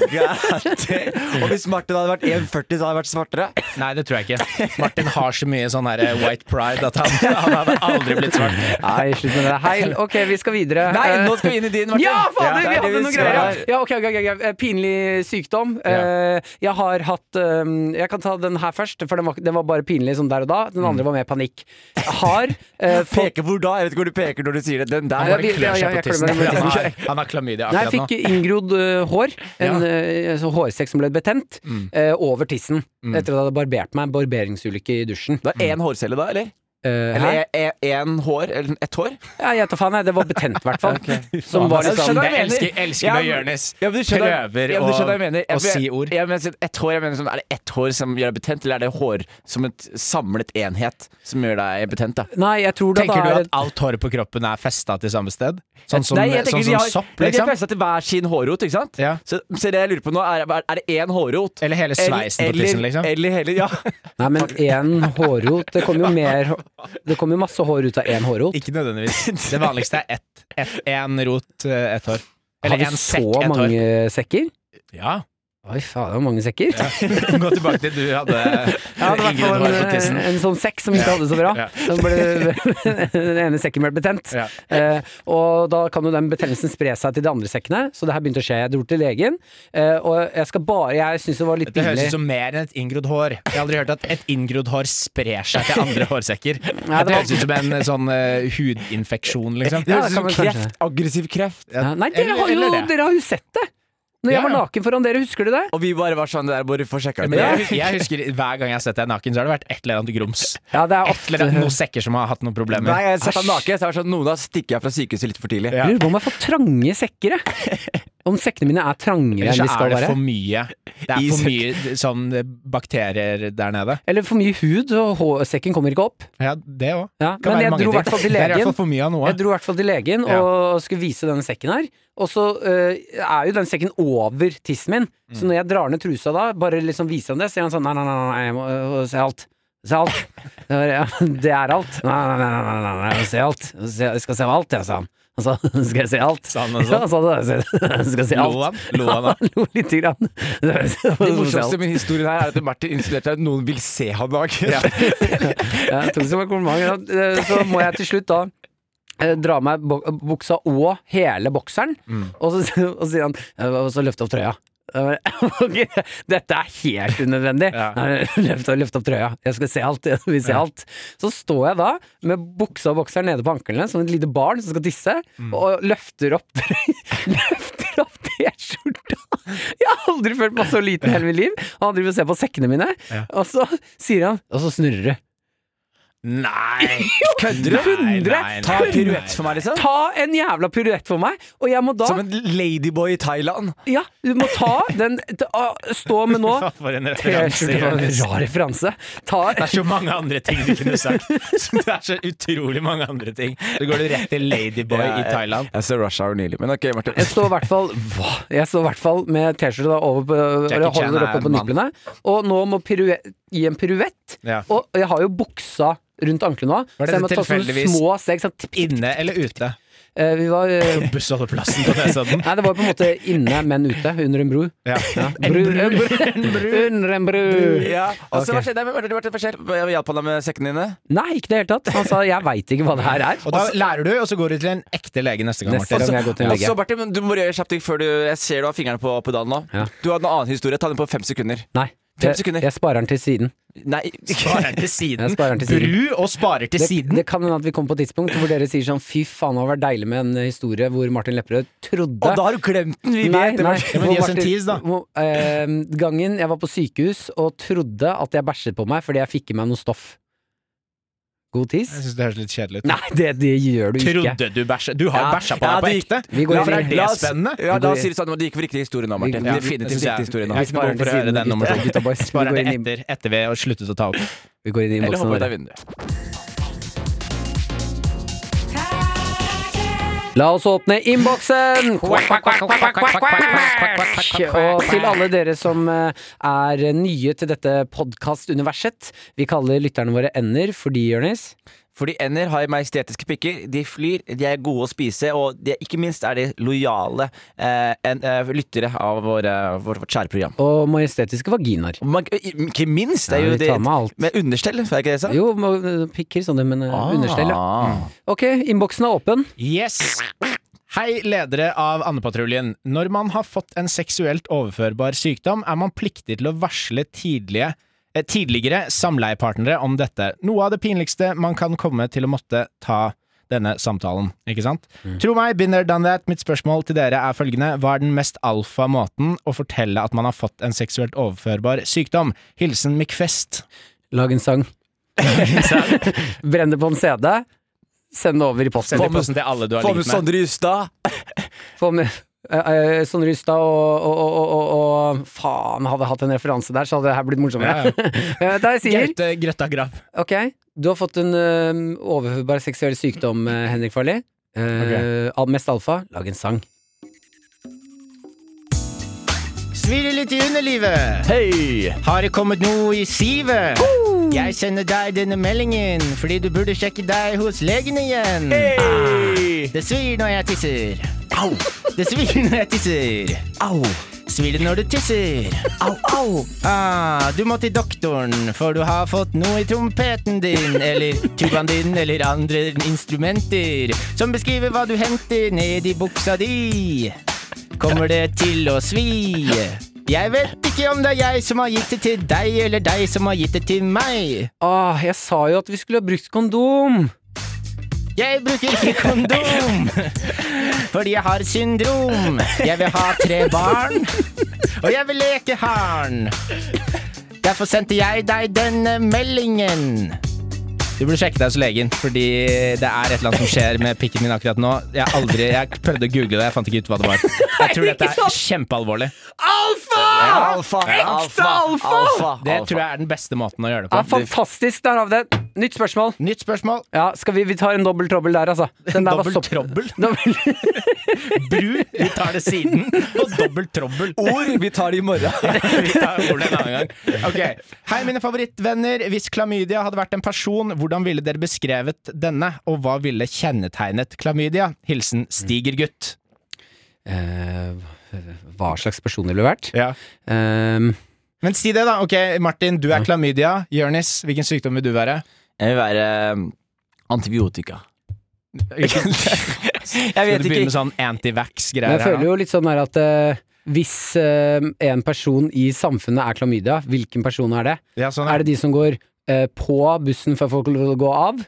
Speaker 4: Og hvis Martin hadde vært 1,40, så hadde jeg vært svartere.
Speaker 5: Nei, det tror jeg ikke. Martin har så mye sånn her white pride at han, han hadde aldri blitt svart.
Speaker 3: Nei, slutt med det. Hei, ok, vi skal videre.
Speaker 4: Nei,
Speaker 3: Eh,
Speaker 4: nå skal vi inn i din, Martin.
Speaker 3: Ja, fader!
Speaker 4: det
Speaker 3: Vi
Speaker 4: er det
Speaker 3: hadde noen
Speaker 4: skal
Speaker 3: greier.
Speaker 4: her.
Speaker 3: Ja, ja ok, ok, ok, ok. Eh, Pinlig sykdom. Eh, Jeg har hatt eh, Jeg kan ta den her først, for den var, den var bare pinlig sånn der og da. Den andre var mer panikk. Har eh, fått
Speaker 4: Peker hvor da? Jeg vet ikke hvor du peker når du sier det. Den
Speaker 5: Han
Speaker 4: der.
Speaker 3: Ja,
Speaker 5: bare
Speaker 3: vi- ja,
Speaker 5: klør
Speaker 3: ja,
Speaker 5: seg
Speaker 3: jeg
Speaker 5: på tissen.
Speaker 3: klør meg på
Speaker 5: Han
Speaker 3: tissen.
Speaker 5: har, han har klamydia
Speaker 3: Nei, jeg
Speaker 5: akkurat
Speaker 3: fikk
Speaker 5: nå.
Speaker 3: inngrodd eh, hår. En,
Speaker 5: Ja.
Speaker 3: eh, så hårsekk som ble betent. eh, over tissen. Etter at jeg hadde barbert meg. Barberingsulykke i dusjen.
Speaker 4: Det var én hårcelle da, eller?
Speaker 3: Eh, hæ?
Speaker 4: Eller e- e- én hår? Eller ett hår?
Speaker 3: ja, jeg tar faen, jeg. Det var betent, i hvert fall. Som var
Speaker 4: Ja, du
Speaker 3: liksom
Speaker 4: skjønner hva sånn- jeg
Speaker 5: Jeg
Speaker 4: mener.
Speaker 5: elsker, elsker når Jonis
Speaker 4: Ja, men du skjønner,
Speaker 5: prøver
Speaker 4: ja, men du skjønner hva jeg mener.
Speaker 5: å,
Speaker 4: Jeg
Speaker 5: å si ord.
Speaker 4: Jeg mener, sånn, ett hår, jeg mener sånn, Er det ett hår som gjør deg betent, eller er det hår som et samlet enhet som gjør deg betent? da?
Speaker 3: Nei, jeg tror det
Speaker 5: Tenker
Speaker 3: da
Speaker 5: du
Speaker 3: er
Speaker 5: at alt håret på kroppen er festa til samme sted? Sånn som,
Speaker 4: Nei, jeg tenker de
Speaker 5: sånn som
Speaker 4: har,
Speaker 5: sopp,
Speaker 4: ja, De har
Speaker 5: liksom?
Speaker 4: festa til hver sin hårrot, ikke sant?
Speaker 5: Ja.
Speaker 4: Så, så det jeg lurer på nå, er, er det én hårrot?
Speaker 5: Eller hele sveisen på tissen, liksom?
Speaker 4: Eller hele, ja.
Speaker 3: Nei, men én hårrot Det kommer jo mer Det kommer jo masse hår ut av én hårrot.
Speaker 5: Ikke nødvendigvis. Det vanligste er ett. ett- En rot, eh, ett hår.
Speaker 3: Har
Speaker 5: Eller
Speaker 3: vi
Speaker 5: en
Speaker 3: så
Speaker 5: sekk, ett hår.
Speaker 3: mange sekker?
Speaker 5: Ja.
Speaker 3: Oi faen, det var mange sekker.
Speaker 5: Gå tilbake til du hadde
Speaker 3: Ja, det var i hvert
Speaker 5: Ingrid
Speaker 3: fall
Speaker 5: hår på
Speaker 3: en,
Speaker 5: tissen.
Speaker 3: en sånn sekk som ikke hadde det så bra.
Speaker 5: Ja.
Speaker 3: Den, ble, den ene sekken ble betent.
Speaker 5: Ja.
Speaker 3: Eh, og da kan jo den betennelsen spre seg til de andre sekkene, så det her begynte å skje. Jeg dro til legen, eh, og jeg skal bare Jeg syns det var litt
Speaker 5: Det høres
Speaker 3: pinlig.
Speaker 5: ut som mer enn et inngrodd hår. Jeg har aldri hørt at et inngrodd hår sprer seg til andre hårsekker.
Speaker 3: Nei, det
Speaker 5: det
Speaker 3: var-
Speaker 5: høres ut som en eh, sånn eh, hudinfeksjon, liksom.
Speaker 3: Ja,
Speaker 4: Det
Speaker 3: det
Speaker 4: høres ut
Speaker 3: kan
Speaker 4: som
Speaker 3: vel kanskje-
Speaker 4: kreft. Aggressiv kreft.
Speaker 3: ja, nei, dere
Speaker 5: Eller-
Speaker 3: har, jo,
Speaker 5: eller det.
Speaker 3: dere har jo sett det! Når jeg
Speaker 5: Ja,
Speaker 3: var
Speaker 5: ja.
Speaker 3: naken foran dere, husker du det?
Speaker 4: Og vi bare var sånn der, bare for sjekka.
Speaker 5: Men jeg, jeg husker Hver gang jeg har sett deg naken, så har det vært et eller annet grums.
Speaker 3: Ja, det er
Speaker 5: Et eller
Speaker 3: ofte
Speaker 5: annet, Noen sekker som har hatt noen
Speaker 4: Hver gang
Speaker 5: problemer.
Speaker 4: jeg har sett ham naken, så er det sånn noen har stikket av fra sykehuset litt for tidlig.
Speaker 5: Ja.
Speaker 3: Jeg lurer på om jeg får trange sekker, jeg. Om sekkene mine er trangere enn
Speaker 5: Eller
Speaker 3: de
Speaker 5: så
Speaker 3: skal
Speaker 5: er det
Speaker 3: være.
Speaker 5: for mye Det er for mye sånn eh, bakterier der nede.
Speaker 3: Eller for mye hud, og hår- sekken kommer ikke opp.
Speaker 5: Ja, det òg.
Speaker 3: Ja, men jeg dro i hvert fall til
Speaker 5: Det er i hvert
Speaker 3: legen.
Speaker 5: fall for mye av noe.
Speaker 3: Jeg dro i hvert fall til legen
Speaker 5: Ja.
Speaker 3: og skulle vise denne sekken her. Og så eh, er jo den sekken over tissen min,
Speaker 5: Mm.
Speaker 3: så når jeg drar ned trusa da, bare liksom viser han det, sier han sånn nei, nei, nei, nei, jeg må øh, se alt. Se alt. Det er- ja, Det er alt. Nei, nei, nei, nei, nei, nei, jeg må se alt. Jeg se- Jeg skal se alt, jeg, sa han. Han sa skal jeg se alt?
Speaker 5: Sa han det
Speaker 3: Ja,
Speaker 5: sånn?
Speaker 3: han sa det. Jeg skal se
Speaker 5: Lo
Speaker 3: alt.
Speaker 5: han? Lo han da?
Speaker 3: Han lo lite grann.
Speaker 4: Det morsomste med historien her er at Martin insinuerte at noen vil se ham naken.
Speaker 3: Ja, jeg tok det som en kompliment. ja. Eh, Så må jeg til slutt da eh, dra av
Speaker 5: Mm.
Speaker 3: meg bo- buksa og hele bokseren, og, så, og så sier han eh, Og så løfte opp trøya. Jeg bare, Dette er helt unødvendig.
Speaker 5: Ja.
Speaker 3: Nei, Løft, opp- løft opp trøya, jeg skal se alt. Jeg vil se alt. Så står jeg da med buksa og bokseren nede på anklene, som et lite barn som skal tisse,
Speaker 5: Mm.
Speaker 3: og løfter opp Løfter opp T-skjorta! Jeg har aldri følt meg så liten i hele mitt liv. Og han driver og ser på sekkene mine,
Speaker 5: Ja.
Speaker 3: og så sier han Og så snurrer du.
Speaker 5: Nei!
Speaker 4: Kødder du?
Speaker 5: Nei, nei, nei,
Speaker 4: Ta
Speaker 5: nei,
Speaker 4: piruett
Speaker 5: nei.
Speaker 4: for meg, liksom.
Speaker 3: Ta en jævla piruett for meg, og jeg må da
Speaker 4: Som en ladyboy i Thailand.
Speaker 3: Ja, du må ta den ta- Stå med nå
Speaker 5: Ja, For en referanse.
Speaker 3: T-skjorte var en
Speaker 5: Jonis.
Speaker 3: rar referanse. Ta
Speaker 5: Det er så mange andre ting du kunne sagt. Så Det er så utrolig mange andre ting. Så går du rett til Ladyboy
Speaker 4: Ja,
Speaker 5: i Thailand.
Speaker 4: Jeg så Rush Hour nylig, men ok, Martin.
Speaker 3: Jeg står i hvert fall Hva? Jeg står i hvert fall med T-skjorte da over på
Speaker 5: Jackie
Speaker 3: eller
Speaker 5: Chan
Speaker 3: holder
Speaker 5: er
Speaker 3: oppe på
Speaker 5: en mann.
Speaker 3: niplene. Og nå må pirue- gi en piruett.
Speaker 5: Ja.
Speaker 3: Og jeg har jo buksa rundt ankelen nå.
Speaker 5: Var
Speaker 3: Så jeg må
Speaker 5: dette
Speaker 3: ta sånne
Speaker 5: tilfeldigvis
Speaker 3: små steg. Sånn, tipp, tipp.
Speaker 5: Inne eller ute?
Speaker 3: Eh, vi var eh,
Speaker 5: På bussholdeplassen på Nesodden.
Speaker 3: Nei, det var på en måte inne, men ute. Under en bro.
Speaker 5: Ja.
Speaker 3: Bru, en bru, under en bru.
Speaker 4: Ja, og så
Speaker 3: Ok.
Speaker 4: hva skjedde? Martin, Martin, Martin, hva skjedde? Jeg hjalp han deg med sekkene dine?
Speaker 3: Nei, ikke i det hele tatt. Han sa 'jeg veit ikke hva det her er'.
Speaker 5: Og da lærer du, og så går du til en ekte lege neste gang,
Speaker 3: Neste
Speaker 5: Martin.
Speaker 3: gang jeg går til en
Speaker 4: Og
Speaker 3: lege.
Speaker 4: så, Martin, men du må gjøre kjapt ting før du Jeg ser du har fingeren på pedalen nå.
Speaker 3: Ja.
Speaker 4: Du hadde en annen historie. Ta den på fem sekunder.
Speaker 3: Nei.
Speaker 4: Fem
Speaker 3: Jeg,
Speaker 4: sekunder.
Speaker 3: jeg sparer den til siden.
Speaker 4: Nei, ikke
Speaker 5: Sparer til
Speaker 3: Jeg
Speaker 5: siden.
Speaker 3: sparer den til siden.
Speaker 5: Bru og sparer til
Speaker 3: Det,
Speaker 5: siden.
Speaker 3: det kan hende at vi kommer på et tidspunkt hvor dere sier sånn fy faen, det hadde vært deilig med en historie hvor Martin Lepperød trodde
Speaker 4: Og da har du glemt den! Vi
Speaker 3: Nei,
Speaker 4: vet det.
Speaker 3: nei,
Speaker 4: Martin.
Speaker 5: Ja, men
Speaker 3: hvor
Speaker 5: gi oss en
Speaker 3: Martin-
Speaker 5: tease, da.
Speaker 3: hvor, eh, gangen jeg var på sykehus og trodde at jeg bæsjet på meg fordi jeg fikk i meg noe stoff. God
Speaker 5: Jeg
Speaker 3: tis?
Speaker 5: syns det høres litt kjedelig ut.
Speaker 3: Nei, det, det gjør du ikke.
Speaker 5: Trodde du bæsja Du har
Speaker 4: Ja.
Speaker 5: bæsja på
Speaker 4: Ja,
Speaker 5: deg på
Speaker 4: det gikk-
Speaker 5: ekte?
Speaker 3: Vi går
Speaker 5: Hvorfor
Speaker 3: inn.
Speaker 5: er det
Speaker 4: La oss-
Speaker 5: spennende?
Speaker 4: Ja, da
Speaker 3: Vi går i-
Speaker 4: sier du sånn, det gikk for riktig historie nå, Martin.
Speaker 3: Vi- Ja,
Speaker 4: Definitivt
Speaker 5: synes jeg-
Speaker 4: riktig historie nå.
Speaker 5: Jeg
Speaker 3: Vi
Speaker 5: har
Speaker 3: sparer
Speaker 5: ikke behov
Speaker 3: til
Speaker 5: for å høre
Speaker 3: siden,
Speaker 5: den nummer
Speaker 3: gutta-
Speaker 5: to.
Speaker 3: gutta boys. Vi
Speaker 5: Sparer
Speaker 3: går
Speaker 5: det
Speaker 3: inn i-
Speaker 5: etter, etter vi har sluttet å ta opp.
Speaker 3: Vi går inn i
Speaker 4: Eller
Speaker 3: innboksen
Speaker 4: hoppe ut
Speaker 3: vår.
Speaker 4: av vinduet.
Speaker 3: La oss åpne innboksen! Og til alle dere som eh, er nye til dette podkastuniverset. Vi kaller lytterne våre ender fordi, Jonis
Speaker 4: Fordi ender har majestetiske pikker. De flyr, de er gode å spise, og de, ikke minst er de lojale eh, en, eh, lyttere av vår, eh, vår, vårt kjære program.
Speaker 3: og majestetiske vaginaer.
Speaker 4: Og Man, ikke minst! Det er
Speaker 3: Ja,
Speaker 4: jo
Speaker 3: vi tar med alt.
Speaker 4: det Med understell, er det ikke det sånn? jeg sa?
Speaker 3: Jo, må- pikker sånne, men eh,
Speaker 4: Ah.
Speaker 3: understell, ja.
Speaker 5: Mm.
Speaker 3: Ok, innboksen er åpen.
Speaker 5: Yes! Hei, ledere av Andepatruljen. Når man har fått en seksuelt overførbar sykdom, er man pliktig til å varsle tidlige, eh, tidligere samleiepartnere om dette. Noe av det pinligste man kan komme til å måtte ta denne samtalen, ikke sant? Tro meg, been there, done that. Mitt spørsmål til dere er følgende. Hva er den mest alfa måten å fortelle at man har fått en seksuelt overførbar sykdom? Hilsen McFest.
Speaker 3: Lag en sang. Brenn det på en CD. Send det over i posten.
Speaker 5: Send i posten til alle du har
Speaker 4: Få med
Speaker 5: ligget med.
Speaker 4: Sondre Justad!
Speaker 3: Få med eh, eh, Sondre Justad og, og, og, og, og Faen, hadde jeg hatt en referanse der, så hadde det her blitt
Speaker 5: Ja,
Speaker 3: morsommere.
Speaker 5: ja.
Speaker 3: Eh, Da jeg sier
Speaker 5: Gaute Grøtta Grav.
Speaker 3: Ok, du har fått en eh, overførbar seksuell sykdom, eh, Henrik Farley. Eh, al- Mest alfa, lag en sang.
Speaker 5: Svir det litt i underlivet.
Speaker 4: Hei!
Speaker 5: Har det kommet noe i sivet? Jeg sender deg denne meldingen fordi du burde sjekke deg hos legen igjen. Det svir når jeg tisser.
Speaker 4: Au!
Speaker 5: Det svir når jeg tisser.
Speaker 4: Au!
Speaker 5: Svir det når du tisser.
Speaker 4: Au! Au!
Speaker 5: Ah, du må til doktoren, for du har fått noe i trompeten din, eller tubaen din, eller andre instrumenter, som beskriver hva du henter ned i buksa di. Kommer det til å svi? Jeg vet ikke om det er jeg som har gitt det til deg, eller deg som har gitt det til meg.
Speaker 3: Åh, Ah, jeg sa jo at vi skulle ha brukt kondom!
Speaker 5: Jeg bruker ikke kondom, fordi jeg har syndrom. Jeg vil ha tre barn, og jeg vil leke harn. Derfor sendte jeg deg denne meldingen. Du burde sjekke deg hos legen, fordi det er et eller annet som skjer med pikken min akkurat nå. Jeg, har aldri, jeg prøvde å google det, jeg fant ikke ut hva det var. Jeg tror dette er kjempealvorlig.
Speaker 4: Alfa! Alfa!
Speaker 3: alfa!
Speaker 5: Det tror jeg er den beste måten å gjøre det
Speaker 3: Ja,
Speaker 5: på.
Speaker 3: fantastisk, der har vi det! Nytt spørsmål.
Speaker 5: Ah, Nytt spørsmål.
Speaker 3: Ja, skal vi, vi tar en dobbel trøbbel der, altså. Den der var
Speaker 5: Dobbel
Speaker 3: sopp-
Speaker 5: trøbbel?
Speaker 3: Dobbel-
Speaker 5: Bru, vi tar det siden, og dobbelt trobbel.
Speaker 4: Ord vi tar det i morgen.
Speaker 5: Vi tar ordet en annen gang. Ok. Hei, mine favorittvenner. Hvis klamydia hadde vært en person, hvordan ville dere beskrevet denne, og hva ville kjennetegnet klamydia? Hilsen Stigergutt.
Speaker 3: Eh, hva slags person ville du vært?
Speaker 5: Ja.
Speaker 3: Eh,
Speaker 5: Men si det, da. Ok, Martin, du er klamydia. Jonis, hvilken sykdom vil du være?
Speaker 4: Jeg vil være um, antibiotika. jeg
Speaker 5: Skal
Speaker 4: vet
Speaker 5: du begynne med
Speaker 4: ikke.
Speaker 5: sånn antivax-greier
Speaker 3: men jeg
Speaker 5: her
Speaker 3: føler
Speaker 5: nå?
Speaker 3: jo litt sånn her at eh, hvis eh, en person i samfunnet er klamydia, hvilken person er det?
Speaker 5: Ja, sånn
Speaker 3: Er det de som går eh, på bussen før folk vil gå av?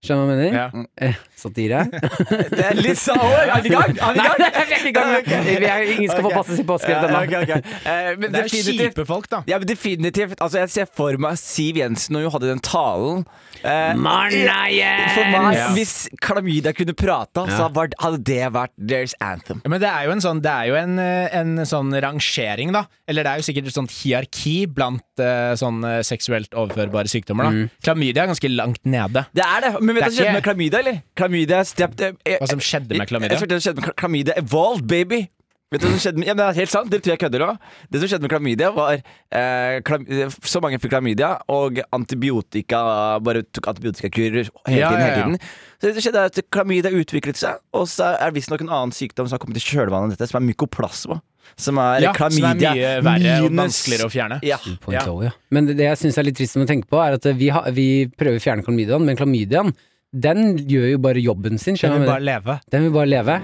Speaker 3: Skjønner du hva jeg mener?
Speaker 5: Ja.
Speaker 3: Eh, satire.
Speaker 4: Det er litt sånn Oi, er vi i gang? Er vi i gang?
Speaker 3: Vi kan- vi er- Ingen skal få
Speaker 4: Ok.
Speaker 3: passe sitt påskrift
Speaker 4: Eh,
Speaker 3: ennå.
Speaker 4: ok, ok. Eh, Men
Speaker 5: Det er jo
Speaker 4: definitivt
Speaker 5: kjipe folk, da.
Speaker 4: Ja, men definitivt. Altså, jeg ser for meg Siv Jensen når hun hadde den talen. Eh,
Speaker 3: Marna,
Speaker 4: for meg,
Speaker 5: Ja.
Speaker 4: Hvis klamydia kunne prata, så var- hadde det vært deres anthem.
Speaker 5: Men det er jo en sånn, det er jo en, eh, en sånn rangering, da. Eller det er jo sikkert et sånt hierarki blant eh, sånn eh, seksuelt overførbare sykdommer, da. Klamydia er ganske langt nede.
Speaker 4: Det er det, Men vet du hva som
Speaker 5: Det er
Speaker 4: skjedde
Speaker 5: ikke-
Speaker 4: med klamydia? eller? Klamydia stepped, eh, eh,
Speaker 5: Hva som skjedde med
Speaker 4: Jeg,
Speaker 5: klamydia?
Speaker 4: jeg, jeg, det skjedde med kla- klamydia evolved, baby. Vet du hva som skjedde med, ja, men det er helt sant, det tror jeg kødder òg. Det som skjedde med klamydia, var eh, klam, eh, Så mange fikk klamydia, og antibiotika bare tok antibiotikakurer hele
Speaker 5: Ja,
Speaker 4: tiden.
Speaker 5: ja,
Speaker 4: hele
Speaker 5: ja.
Speaker 4: tiden. Så det som skjedde er at Klamydia utviklet seg, og så er det visstnok en annen sykdom som har kommet i kjølvannet av dette, som er mykoplasma. Som er
Speaker 5: Ja, som er
Speaker 4: klamydia
Speaker 5: mye verre og
Speaker 4: minus-
Speaker 5: vanskeligere å fjerne.
Speaker 4: Ja.
Speaker 3: Point O, ja. Men det, det jeg syns er litt trist å tenke på, er at eh, vi, har- vi prøver å fjerne klamydiaen, men klamydiaen den gjør jo bare jobben sin. skjønner du hva jeg mener?
Speaker 5: leve.
Speaker 3: Den vil bare leve.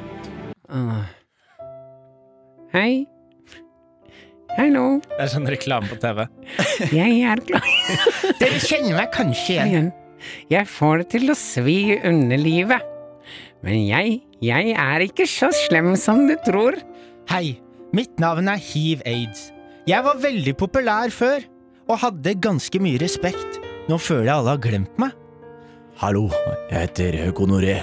Speaker 3: Ah. Hei. Hallo.
Speaker 5: Det er sånn reklame på TV.
Speaker 3: Jeg er klar
Speaker 5: Dere kjenner meg kanskje
Speaker 3: igjen. Jeg får det til å svi i underlivet. Men jeg, jeg er ikke så slem som du tror.
Speaker 5: Hei, mitt navn er Hiv Aids. Jeg var veldig populær før, og hadde ganske mye respekt. Nå føler jeg alle har glemt meg.
Speaker 4: Hallo, jeg heter Gonoré.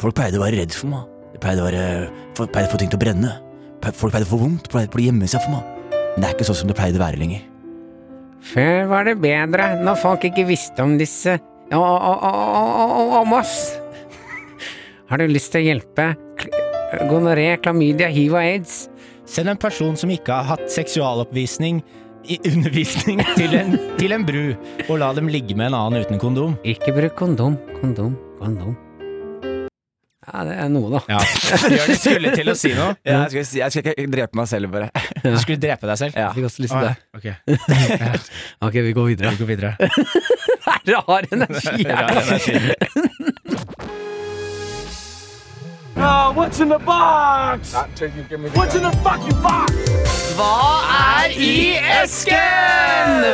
Speaker 4: Folk pleide å være redd for meg. De pleide å, være, folk pleide å få ting til å brenne. Pe- Folk pleide å få vondt, pleide å gjemme seg for meg. Men det er ikke sånn som det pleide å være lenger.
Speaker 3: Før var det bedre, når folk ikke visste om disse og, og, og, og, om oss. Har du lyst til å hjelpe? Kl- Gonoré, klamydia, hiv og aids?
Speaker 5: Send en person som ikke har hatt seksualoppvisning i undervisning til en, til en bru, og la dem ligge med en annen uten kondom.
Speaker 3: Ikke bruk kondom, kondom, kondom. Ja, det er noe, da.
Speaker 5: Ja, Jørgen skulle til å si noe.
Speaker 4: Jeg skal, si- jeg skal ikke drepe meg selv, bare.
Speaker 5: Du skulle drepe deg selv.
Speaker 4: Ja.
Speaker 3: Jeg fikk også lyst
Speaker 5: Å,
Speaker 3: til
Speaker 5: ja.
Speaker 3: det.
Speaker 5: Ah, Ok,
Speaker 3: Ok, vi går videre.
Speaker 5: vi går videre.
Speaker 3: Rar energi
Speaker 5: Rar
Speaker 3: her.
Speaker 5: energi.
Speaker 3: I esken!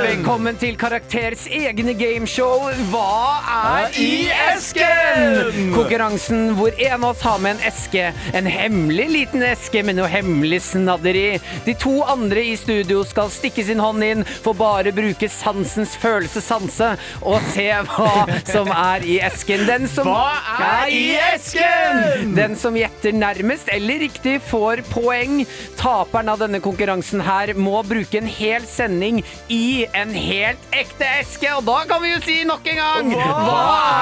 Speaker 3: Velkommen til Karakters egne gameshow Hva er i esken? Konkurransen hvor en av oss har med en eske. En hemmelig liten eske med noe hemmelig snadder i. De to andre i studio skal stikke sin hånd inn, for bare bruke sansens følelsessanse og se hva som er i esken. Den som Hva er i esken? Den som gjetter nærmest eller riktig, får poeng. Taperen av denne konkurransen her må bruke en hel sending i en helt ekte eske. Og da kan vi jo si nok en gang Hva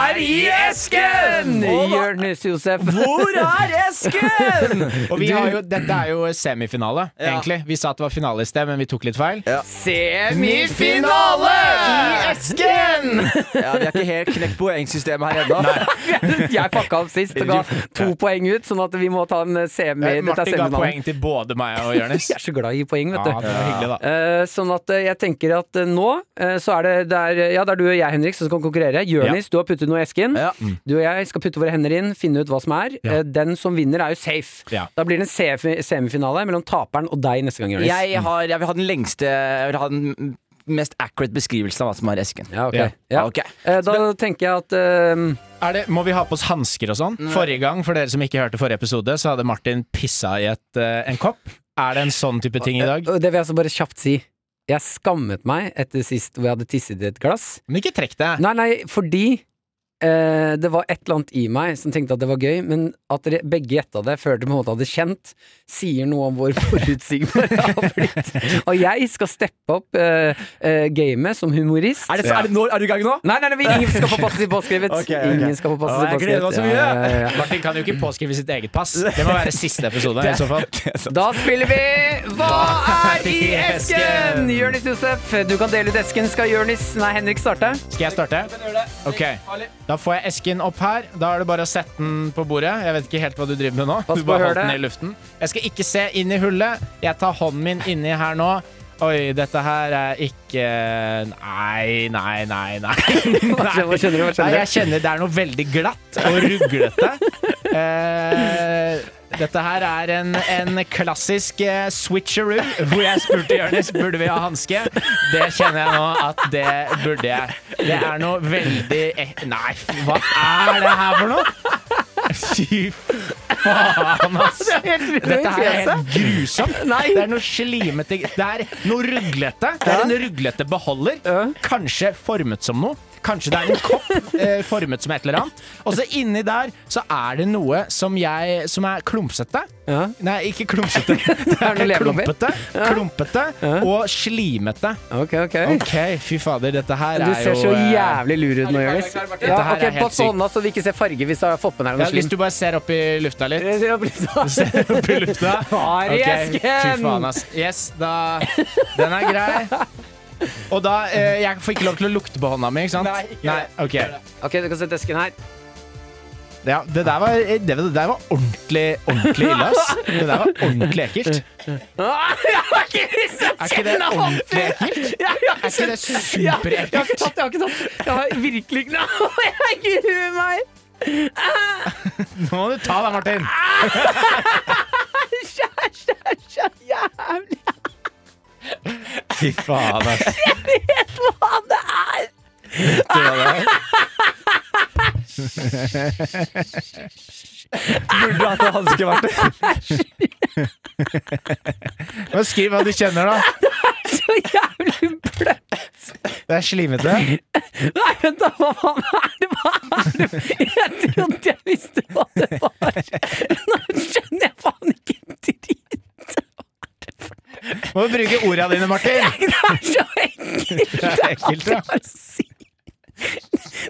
Speaker 3: er i esken? Jonis Josef.
Speaker 4: Hvor er esken?!
Speaker 5: Og vi har jo, dette er jo semifinale, egentlig. Vi sa at det var finale i sted, men vi tok litt feil.
Speaker 3: Semifinale i esken!
Speaker 4: Ja, Vi har ikke helt knekt poengsystemet her ennå.
Speaker 3: Jeg fucka opp sist og ga to poeng ut, sånn at vi må ta en semi. Dette er
Speaker 5: Eh, Martin ga
Speaker 3: semifinalen.
Speaker 5: poeng til både meg og Jonis.
Speaker 3: Jeg er så glad i poeng,
Speaker 5: Ja,
Speaker 3: vet
Speaker 5: det
Speaker 3: du.
Speaker 5: var hyggelig, da.
Speaker 3: Eh, sånn at eh, jeg tenker at eh, nå eh, så er det, det er, ja, det er du og jeg, Henrik, som skal konkurrere. Jonis, du har puttet noe i esken.
Speaker 4: Ja.
Speaker 3: Du og jeg skal putte våre hender inn, finne ut hva som er. Eh, den som vinner, er jo safe.
Speaker 5: Ja.
Speaker 3: Da blir det en semi- semifinale mellom taperen og deg neste gang, Jonis.
Speaker 4: Jeg, har, jeg vil ha den lengste Jeg vil ha den mest accurate beskrivelsen av hva som er esken.
Speaker 3: Ja, ok.
Speaker 5: Ja.
Speaker 3: Ja.
Speaker 4: Ok.
Speaker 3: Eh, da tenker jeg at eh,
Speaker 5: Er det, må vi ha på oss hansker og sånn?
Speaker 3: Mm.
Speaker 5: Forrige gang, for dere som ikke hørte forrige episode, så hadde Martin pissa i et, eh, en kopp. Er det en sånn type ting i dag?
Speaker 3: og Det vil jeg altså bare kjapt si. Jeg skammet meg etter sist hvor jeg hadde tisset i et glass.
Speaker 5: Men ikke trekk deg.
Speaker 3: Nei, nei, fordi eh, det var et eller annet i meg som tenkte at det var gøy, men at dere begge gjetta det før dere på en måte hadde kjent, sier noe om hvor forutsigbar jeg har blitt. Og jeg skal steppe opp eh, eh, gamet som humorist.
Speaker 4: Er, det, er, det nå, er du i gang nå?
Speaker 3: Nei, nei, nei, vi- ingen skal få passet sitt påskrevet!
Speaker 4: Ok, ok.
Speaker 3: Ingen skal få passet
Speaker 4: Å, jeg
Speaker 3: sitt
Speaker 4: gleder meg så
Speaker 3: påskrevet.
Speaker 4: mye.
Speaker 3: ja, ja.
Speaker 5: Martin kan jo ikke påskrive sitt eget pass. Det må være siste episode. i så fall
Speaker 3: Da spiller vi Hva er i esken?! Jonis Josef, du kan dele ut esken. Skal Jonis, nei, Henrik starte?
Speaker 5: Skal jeg starte? Ok, Da får jeg esken opp her. Da er det bare å sette den på bordet. Jeg vet ikke helt hva du driver med nå.
Speaker 3: Pass
Speaker 5: Du
Speaker 3: på
Speaker 5: bare holdt
Speaker 3: hølet.
Speaker 5: den i luften Jeg skal ikke se inn i hullet. Jeg tar hånden min inni her nå. Oi, dette her er ikke Nei, nei, nei, nei.
Speaker 3: Hva skjønner hva skjønner du? Hva
Speaker 5: Nei,
Speaker 3: skjønner
Speaker 5: jeg kjenner det er noe veldig glatt og ruglete. Eh, Dette her er en, en klassisk eh, switcheroo, hvor jeg spurte Jonis burde vi ha hanske. Det kjenner jeg nå at det burde jeg. Det er noe veldig eh, Nei, fy- hva er det her for noe? Fy faen, ass. Dette her er helt grusomt. Det er noe slimete Det er noe ruglete. Det er en ruglete beholder. Kanskje formet som noe. Kanskje det er en kopp eh, formet som et eller annet. Og så inni der så er det noe som jeg Som er klumpsete.
Speaker 3: Ja.
Speaker 5: Nei, ikke klumpsete. Det
Speaker 3: Er det
Speaker 5: er
Speaker 3: leverpapir?
Speaker 5: klumpete, klumpete og slimete.
Speaker 3: Ok, ok.
Speaker 5: OK, fy fader, dette her
Speaker 3: Du
Speaker 5: er
Speaker 3: ser så
Speaker 5: jo eh,
Speaker 3: jævlig lur ut nå, Jonis. Ja,
Speaker 5: Dette her
Speaker 3: ok,
Speaker 5: er helt
Speaker 3: Pass på
Speaker 5: sykt.
Speaker 3: hånda så vi ikke ser farge hvis du har fått med deg
Speaker 5: ja,
Speaker 3: noe
Speaker 5: Hvis
Speaker 3: slim.
Speaker 5: du bare ser opp i lufta litt.
Speaker 3: Ser
Speaker 5: Ser opp i lufta.
Speaker 3: Har i
Speaker 5: Ok, Fy faen,
Speaker 3: esken!
Speaker 5: ass. Yes, da Den er grei. Og da eh, Jeg får ikke lov til å lukte på hånda mi, ikke sant?
Speaker 4: Nei, ikke
Speaker 5: ok.
Speaker 3: Ok, du kan sette esken her.
Speaker 5: Ja, det der var, det, det der var ordentlig, ordentlig ille, ass. Det der var ordentlig ekkelt.
Speaker 3: Ah, Jeg har ikke lyst til å
Speaker 5: Er ikke det
Speaker 3: kjenne opp!
Speaker 5: ordentlig ekkelt?
Speaker 3: Jeg har ikke
Speaker 5: Er ikke det
Speaker 3: Jeg har ikke
Speaker 5: superekkelt?
Speaker 3: tatt, jeg har ikke tatt. Jeg har virkelig ikke Nei, Jeg gruer meg! Ah,
Speaker 5: Nå må du ta deg, Martin.
Speaker 3: Kjæsj, det er så jævlig
Speaker 5: Fy faen, ass.
Speaker 3: hva det er!
Speaker 5: Det var det.
Speaker 4: Burde hatt hanske, Martin.
Speaker 5: Men Skriv hva du kjenner, da.
Speaker 3: Så jævlig bløtt!
Speaker 5: Det er slimete.
Speaker 3: Nei, vent da, hva faen er det? Hva er det? Jeg trodde jeg visste hva det var. Nå skjønner jeg faen ikke en dritt.
Speaker 5: Må du bruke orda dine, Martin.
Speaker 3: Det er så ekkelt.
Speaker 5: Det er ekkelt, ja.
Speaker 3: å si.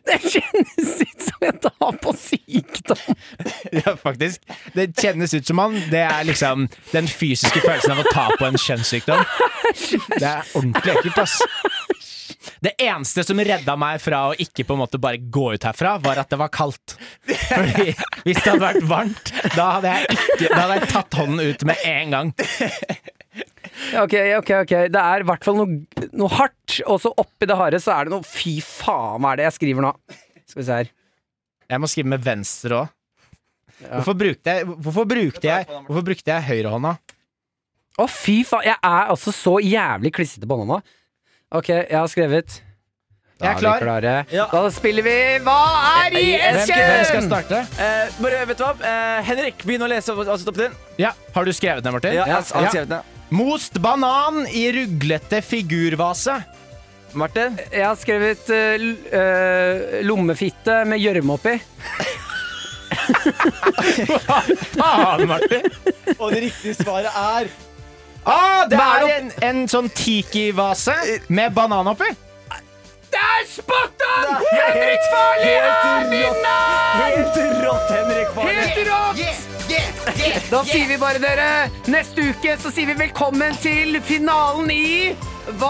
Speaker 3: Det kjennes ut som jeg tar på sykdom.
Speaker 5: Ja, faktisk. Det kjennes ut som han. Det er liksom den fysiske følelsen av å ta på en kjønnssykdom. Det er ordentlig ekkelt, ass. Det eneste som redda meg fra å ikke på en måte bare gå ut herfra, var at det var kaldt. Fordi hvis det hadde vært varmt, da hadde jeg, ikke, da hadde jeg tatt hånden ut med en gang.
Speaker 3: Ok, ok, ok. Det er i hvert fall noe, noe hardt, og så oppi det harde så er det noe Fy faen, hva er det jeg skriver nå? Skal vi se her.
Speaker 5: Jeg må skrive med venstre òg. Hvorfor, brukte jeg- hvorfor, brukte jeg- hvorfor brukte jeg høyrehånda?
Speaker 3: Å, fy faen. Jeg er altså så jævlig klissete på hånda. Ok, jeg har skrevet.
Speaker 5: Jeg er klar.
Speaker 3: klare.
Speaker 4: Ja.
Speaker 3: Da spiller vi Hva er i
Speaker 5: Hvem, hvem skal
Speaker 3: esken?
Speaker 5: starte?
Speaker 4: Eh, bare, vet du hva? Eh, Henrik, begynn å lese altså, stopp din.
Speaker 5: Ja, Har du skrevet ned, Martin?
Speaker 4: Ja,
Speaker 5: Ja.
Speaker 4: altså, han skrev den, ja.
Speaker 5: Most banan i ruglete figurvase.
Speaker 4: Martin?
Speaker 3: Jeg har skrevet eh, l- eh, lommefitte med gjørme oppi.
Speaker 5: Faen, Martin!
Speaker 4: Og det riktige svaret er
Speaker 5: Ah, det
Speaker 3: Hva er
Speaker 5: er en, en sånn tiki-vase med banan oppi.
Speaker 3: Det er spot on!
Speaker 4: Henrik Farley er Helt rått, Henrik Farley.
Speaker 3: rått! Da sier vi bare, dere, neste uke så sier vi velkommen til finalen i Hva,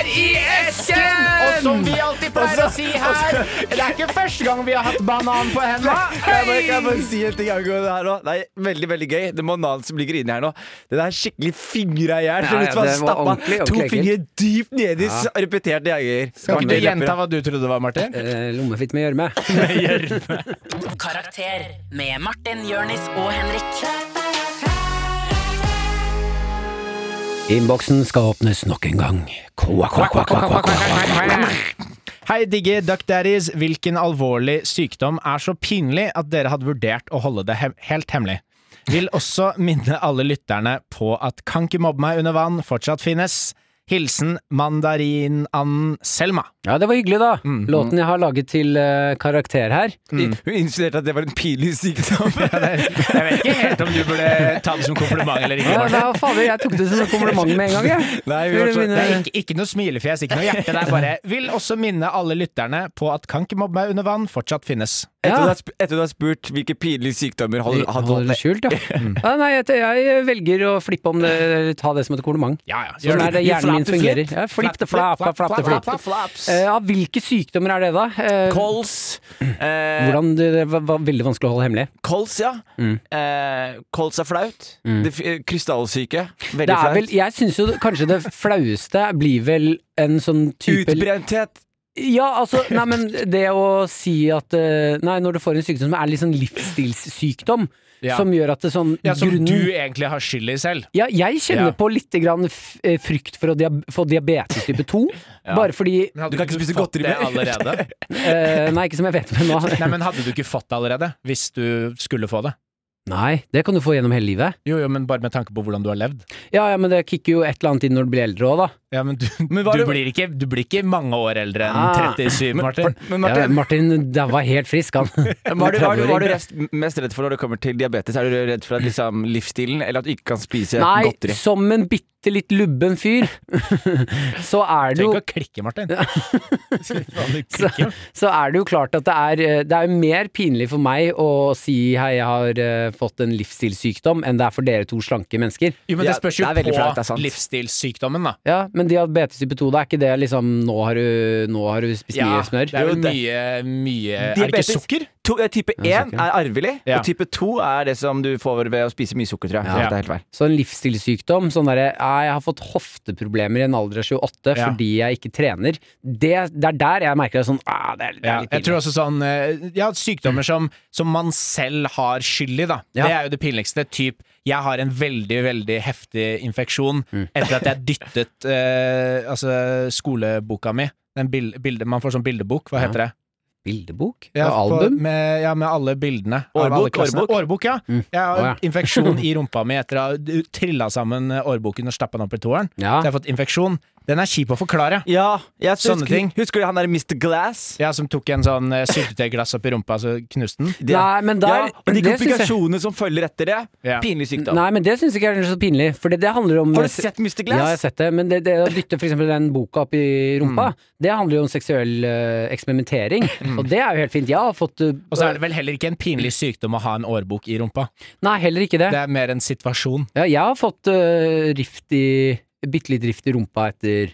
Speaker 3: er i esken?
Speaker 5: Og som vi alltid pleier å si her, det er ikke første gang vi har hatt banan på hendene.
Speaker 4: Jeg bare, kan jeg bare si en ting angående det her nå? Det er veldig veldig gøy. Det bananen som ligger inni her nå, den er skikkelig fingra i hjel.
Speaker 3: Ja,
Speaker 4: Ser ut
Speaker 3: ja,
Speaker 4: som han
Speaker 3: det var
Speaker 4: stappa
Speaker 3: ordentlig,
Speaker 4: to
Speaker 3: ordentlig
Speaker 4: fingre dypt nedi s- repeterte jeger.
Speaker 5: Kan ikke
Speaker 4: Svarte
Speaker 5: du gjenta
Speaker 4: lepper.
Speaker 5: hva du trodde det var, Martin?
Speaker 3: Eh, lommefitte med gjørme.
Speaker 2: Karakter med Martin, Jørnis og Henrik.
Speaker 3: Innboksen skal åpnes nok en gang. Kva, kva, kva, kva, kva, kva.
Speaker 5: Hei, digge Duck Daddies. Hvilken alvorlig sykdom er så pinlig at dere hadde vurdert å holde det hem helt hemmelig? Vil også minne alle lytterne på at Kan ikke mobbe meg under vann fortsatt finnes. Hilsen mandarinanden Selma.
Speaker 3: Ja, det var hyggelig, da.
Speaker 5: Mm.
Speaker 3: Låten jeg har laget til eh, karakter her.
Speaker 4: Hun insinuerte at det var en pinlig sykdom.
Speaker 5: Jeg vet ikke helt om du burde ta det som kompliment eller ikke.
Speaker 3: Ja,
Speaker 5: Martin.
Speaker 3: da, fader, jeg tok det som et kompliment med en gang, jeg.
Speaker 4: Nei, vi
Speaker 3: Vil
Speaker 4: var
Speaker 3: du
Speaker 4: så-
Speaker 5: Det er
Speaker 3: begynne?
Speaker 5: ikke, ikke noe smilefjes, ikke noe hjerte. Det er bare Vil også minne alle lytterne på at Kan ikke mobbe meg under vann fortsatt finnes.
Speaker 4: Etter
Speaker 3: Ja.
Speaker 4: du har sp- etter du har spurt hvilke pinlige sykdommer holder han
Speaker 3: Holder det skjult, ja.
Speaker 5: Mm.
Speaker 3: ja nei, jeg, jeg velger å flippe om det, eller ta det som et kompliment.
Speaker 5: Ja, ja.
Speaker 3: Sånn er det
Speaker 4: You
Speaker 3: hjernen min
Speaker 4: flap the flip.
Speaker 3: fungerer. Ja, flipp det flap, flap, flap, det flip.
Speaker 4: Flaps.
Speaker 3: Eh, ja, hvilke sykdommer er det, da? Eh,
Speaker 4: Kols. Eh,
Speaker 3: hvordan, Mm. det var, var veldig vanskelig å holde hemmelig.
Speaker 4: kols, ja. Eh, kols er flaut. Det f- eh, Krystallsyke.
Speaker 3: Mm. Det
Speaker 4: Veldig
Speaker 3: er vel,
Speaker 4: flaut.
Speaker 3: jeg syns jo kanskje det flaueste blir vel en sånn type
Speaker 4: Utbrenthet.
Speaker 3: Ja, altså, nei, men det å si at eh, Nei, når du får en sykdom som er litt sånn livsstilssykdom,
Speaker 5: Ja.
Speaker 3: som gjør at det sånn
Speaker 5: Ja, som
Speaker 3: grunnen-
Speaker 5: du egentlig har skyld i selv.
Speaker 3: Ja, jeg kjenner
Speaker 5: Ja.
Speaker 3: på litt grann f eh, frykt for å dia få diabetes type 2. Bare fordi
Speaker 5: Men
Speaker 4: Du kan ikke spise
Speaker 5: fått
Speaker 4: godteri
Speaker 5: det
Speaker 4: mer.
Speaker 5: allerede?
Speaker 3: eh, Nei, ikke som jeg vet om nå.
Speaker 5: Nei, men hadde du ikke fått det allerede, hvis du skulle få det?
Speaker 3: Nei, det kan du få gjennom hele livet.
Speaker 5: Jo, jo, men bare med tanke på hvordan du har levd.
Speaker 3: Ja, ja, men det kicker jo et eller annet inn når du blir eldre òg, da.
Speaker 5: Ja, men du,
Speaker 4: Men hva er
Speaker 5: du,
Speaker 4: det-
Speaker 5: blir ikke, du blir ikke mange år eldre
Speaker 3: Ah.
Speaker 5: enn 37, Martin.
Speaker 4: Men
Speaker 3: Martin, ja,
Speaker 4: Martin,
Speaker 3: Martin da var helt frisk, han.
Speaker 4: hva er du, hva er du, hva er du
Speaker 3: 30-åring.
Speaker 4: rest, mest redd for når det kommer til diabetes? Er du redd for at, liksom, livsstilen, eller at du ikke kan spise
Speaker 3: Nei,
Speaker 4: godteri?
Speaker 3: som en bitte litt lubben fyr, så er det jo
Speaker 5: Tenk å klikke, Martin. Faen, du klikker.
Speaker 3: så er det jo klart at det er, eh, det er jo mer pinlig for meg å si hei, jeg har eh, fått en livsstilssykdom, enn det er for dere to slanke mennesker.
Speaker 5: Jo, men det
Speaker 4: Ja,
Speaker 5: spørs jo
Speaker 4: det er veldig
Speaker 5: på
Speaker 4: flaut, det er sant.
Speaker 5: livsstilssykdommen, da.
Speaker 3: Ja, Men diabetes type 2, det er ikke det liksom Nå har du, nå har du spist mye smør?
Speaker 5: det er
Speaker 4: Jo,
Speaker 5: jo
Speaker 4: det-
Speaker 5: mye, mye Er det
Speaker 4: Diabetes.
Speaker 5: ikke sukker?
Speaker 4: To, eh, type 1
Speaker 3: sikkert.
Speaker 4: er arvelig,
Speaker 5: Ja.
Speaker 4: og type 2 er det som du får ved å spise mye sukker, tror jeg.
Speaker 5: Ja.
Speaker 4: Det er helt feil.
Speaker 3: Så en livsstilssykdom, sånn derre «Ja, Jeg har fått hofteproblemer i en alder av 28
Speaker 5: Ja.
Speaker 3: fordi jeg ikke trener. Det, det er der jeg merker det er sånn ah, det, er, det
Speaker 5: Ja,
Speaker 3: er litt
Speaker 5: jeg tror
Speaker 3: pinlig.
Speaker 5: også sånn eh, Ja, sykdommer som, som man selv har skyld i, da.
Speaker 3: Ja.
Speaker 5: Det er jo det pinligste. Typ jeg har en veldig, veldig heftig infeksjon
Speaker 4: Mm.
Speaker 5: etter at jeg dyttet eh, altså, skoleboka mi. Den bil, bilde, man får sånn bildebok, hva
Speaker 3: Ja.
Speaker 5: heter det?
Speaker 3: Bildebok?
Speaker 5: Ja,
Speaker 3: og album?
Speaker 5: På, med, ja, med alle bildene. av
Speaker 4: Årbok,
Speaker 5: alle klassene.
Speaker 4: årbok.
Speaker 5: Årbok, ja.
Speaker 3: Mm.
Speaker 5: Jeg har
Speaker 3: Å, ja.
Speaker 5: infeksjon i rumpa mi etter å ha trilla sammen eh, årboken og stappa den opp i toeren.
Speaker 3: Ja.
Speaker 5: Så jeg har fått infeksjon. Den er kjip å forklare.
Speaker 4: Ja, jeg
Speaker 5: Sånne
Speaker 4: husker,
Speaker 5: ting.
Speaker 4: Husker du han der Mr. Glass?
Speaker 5: Ja, som tok en sånn eh, syltetøyglass opp i rumpa, så knuste den.
Speaker 4: Det-
Speaker 3: Nei, men
Speaker 4: ja,
Speaker 3: der-
Speaker 4: og de
Speaker 3: det synes jeg-
Speaker 4: komplikasjonene som følger etter det.
Speaker 5: Ja.
Speaker 4: Pinlig sykdom.
Speaker 3: Nei, men det syns jeg ikke er så pinlig, for det, det handler om
Speaker 4: Har du sett Mr. Glass?
Speaker 3: Ja, jeg har sett det, men det, det å dytte for eksempel den boka opp i rumpa, det handler jo om seksuell eh, eksperimentering, og det er jo helt fint. Jeg har fått eh,
Speaker 5: Og så er det vel heller ikke en pinlig sykdom å ha en årbok i rumpa.
Speaker 3: Nei, heller ikke det.
Speaker 5: Det er mer en situasjon.
Speaker 3: Ja, jeg har fått eh, rift i Bitte litt rift i rumpa etter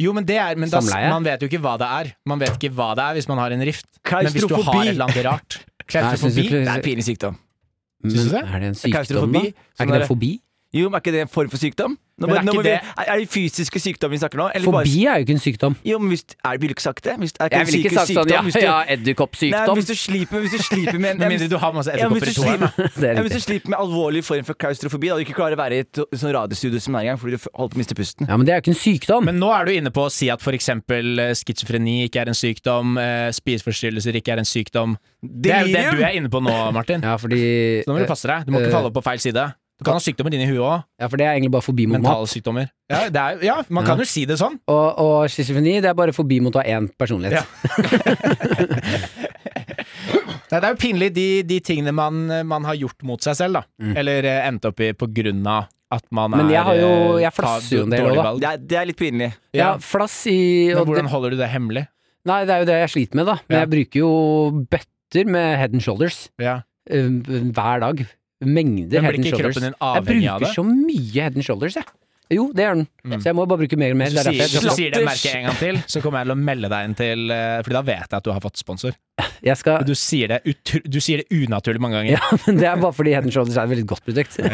Speaker 5: Jo, men det er Men da,
Speaker 3: Samleie?
Speaker 5: man vet jo ikke hva det er. Man vet ikke hva det er hvis man har en rift. Men hvis du har
Speaker 4: Klaustrofobi.
Speaker 5: et eller annet rart Klaustrofobi?
Speaker 3: Nei, jeg synes
Speaker 4: Det
Speaker 3: ikke-
Speaker 4: er pinlig sykdom.
Speaker 3: Men
Speaker 5: Synes du det?
Speaker 3: er det en sykdom, da?
Speaker 4: Klaustrofobi. Sånn
Speaker 3: Er ikke det
Speaker 4: der-
Speaker 3: en fobi?
Speaker 4: Jo, men er ikke det en form for sykdom? Nå,
Speaker 5: Men er
Speaker 4: er, nå
Speaker 5: ikke
Speaker 4: må vi,
Speaker 5: det-
Speaker 4: er, er det fysiske sykdom vi snakker nå? Eller
Speaker 3: Fobi er jo ikke en sykdom.
Speaker 4: Bare, jo, men hvis, er, ville du ikke sagt det? Hvis, er en psykisk
Speaker 3: sånn,
Speaker 4: hvis du, Nei,
Speaker 3: edderkoppsykdom.
Speaker 4: hvis du sliter hvis du sliter med en
Speaker 5: Med mindre du har masse
Speaker 4: ja, men
Speaker 5: edderkopper
Speaker 4: hvis, du
Speaker 5: i toeren. da.
Speaker 4: sliter,
Speaker 3: Det er
Speaker 4: ja, hvis
Speaker 3: riktig.
Speaker 4: du sliter med alvorlig form for klaustrofobi, da du ikke klarer å være i et sånn radiostudio som den gang fordi du f- holdt på å miste pusten
Speaker 3: Ja, men det er jo ikke en sykdom.
Speaker 5: Men nå er du inne på å si at f.eks. schizofreni ikke er en sykdom, eh, spiseforstyrrelser ikke er en sykdom. Det er jo det
Speaker 4: Delirium!
Speaker 5: du er inne på nå, Martin.
Speaker 3: Ja, fordi
Speaker 5: Så nå må du passe deg. Du må
Speaker 3: eh,
Speaker 5: ikke falle opp på feil side. Du kan ha sykdommer dine i huet òg.
Speaker 3: Ja, for det er egentlig bare fobi mot mat.
Speaker 5: Mentale sykdommer. Ja, det er, jo- ja, man kan jo si det sånn.
Speaker 3: Og, og schizofreni, det er bare fobi mot å ha én personlighet.
Speaker 5: Ja. Nei, det er jo pinlig, de, de tingene man, man har gjort mot seg selv, da. Eller eh, endt opp i på grunn av at man
Speaker 3: Mm. Men jeg har
Speaker 5: er
Speaker 3: jo-
Speaker 5: eh,
Speaker 3: jeg
Speaker 5: tar
Speaker 3: flasser jo en del
Speaker 5: dårlig
Speaker 3: også, da.
Speaker 5: valg.
Speaker 4: Det er, det er litt pinlig.
Speaker 3: Ja,
Speaker 5: Ja.
Speaker 3: flass i og
Speaker 5: Men
Speaker 3: det,
Speaker 5: hvordan holder du det hemmelig?
Speaker 3: Nei, det er jo det jeg sliter med, da. Men
Speaker 5: Ja.
Speaker 3: jeg bruker jo bøtter med head and shoulders
Speaker 5: Ja.
Speaker 3: eh, hver dag. Mengder
Speaker 5: Men
Speaker 3: head
Speaker 5: blir
Speaker 3: and
Speaker 5: ikke
Speaker 3: shoulders.
Speaker 5: kroppen din
Speaker 3: Jeg
Speaker 5: avhengig av
Speaker 3: bruker
Speaker 5: det?
Speaker 3: så mye head and shoulders, jeg. Jo, det gjør den. Så jeg må bare bruke mer og mer.
Speaker 5: Hvis
Speaker 3: Det
Speaker 5: du
Speaker 3: er derfor jeg,
Speaker 5: sier, hvis du
Speaker 3: dropper-
Speaker 5: sier det merket en gang til, så kommer jeg til å melde deg inn til eh, Fordi da vet jeg at du har fått sponsor.
Speaker 3: jeg
Speaker 5: Og
Speaker 3: skal
Speaker 5: Du sier det, utru- du sier det unaturlig mange ganger.
Speaker 3: ja, men Det er bare fordi head and shoulders er et veldig godt produkt.
Speaker 4: Eh,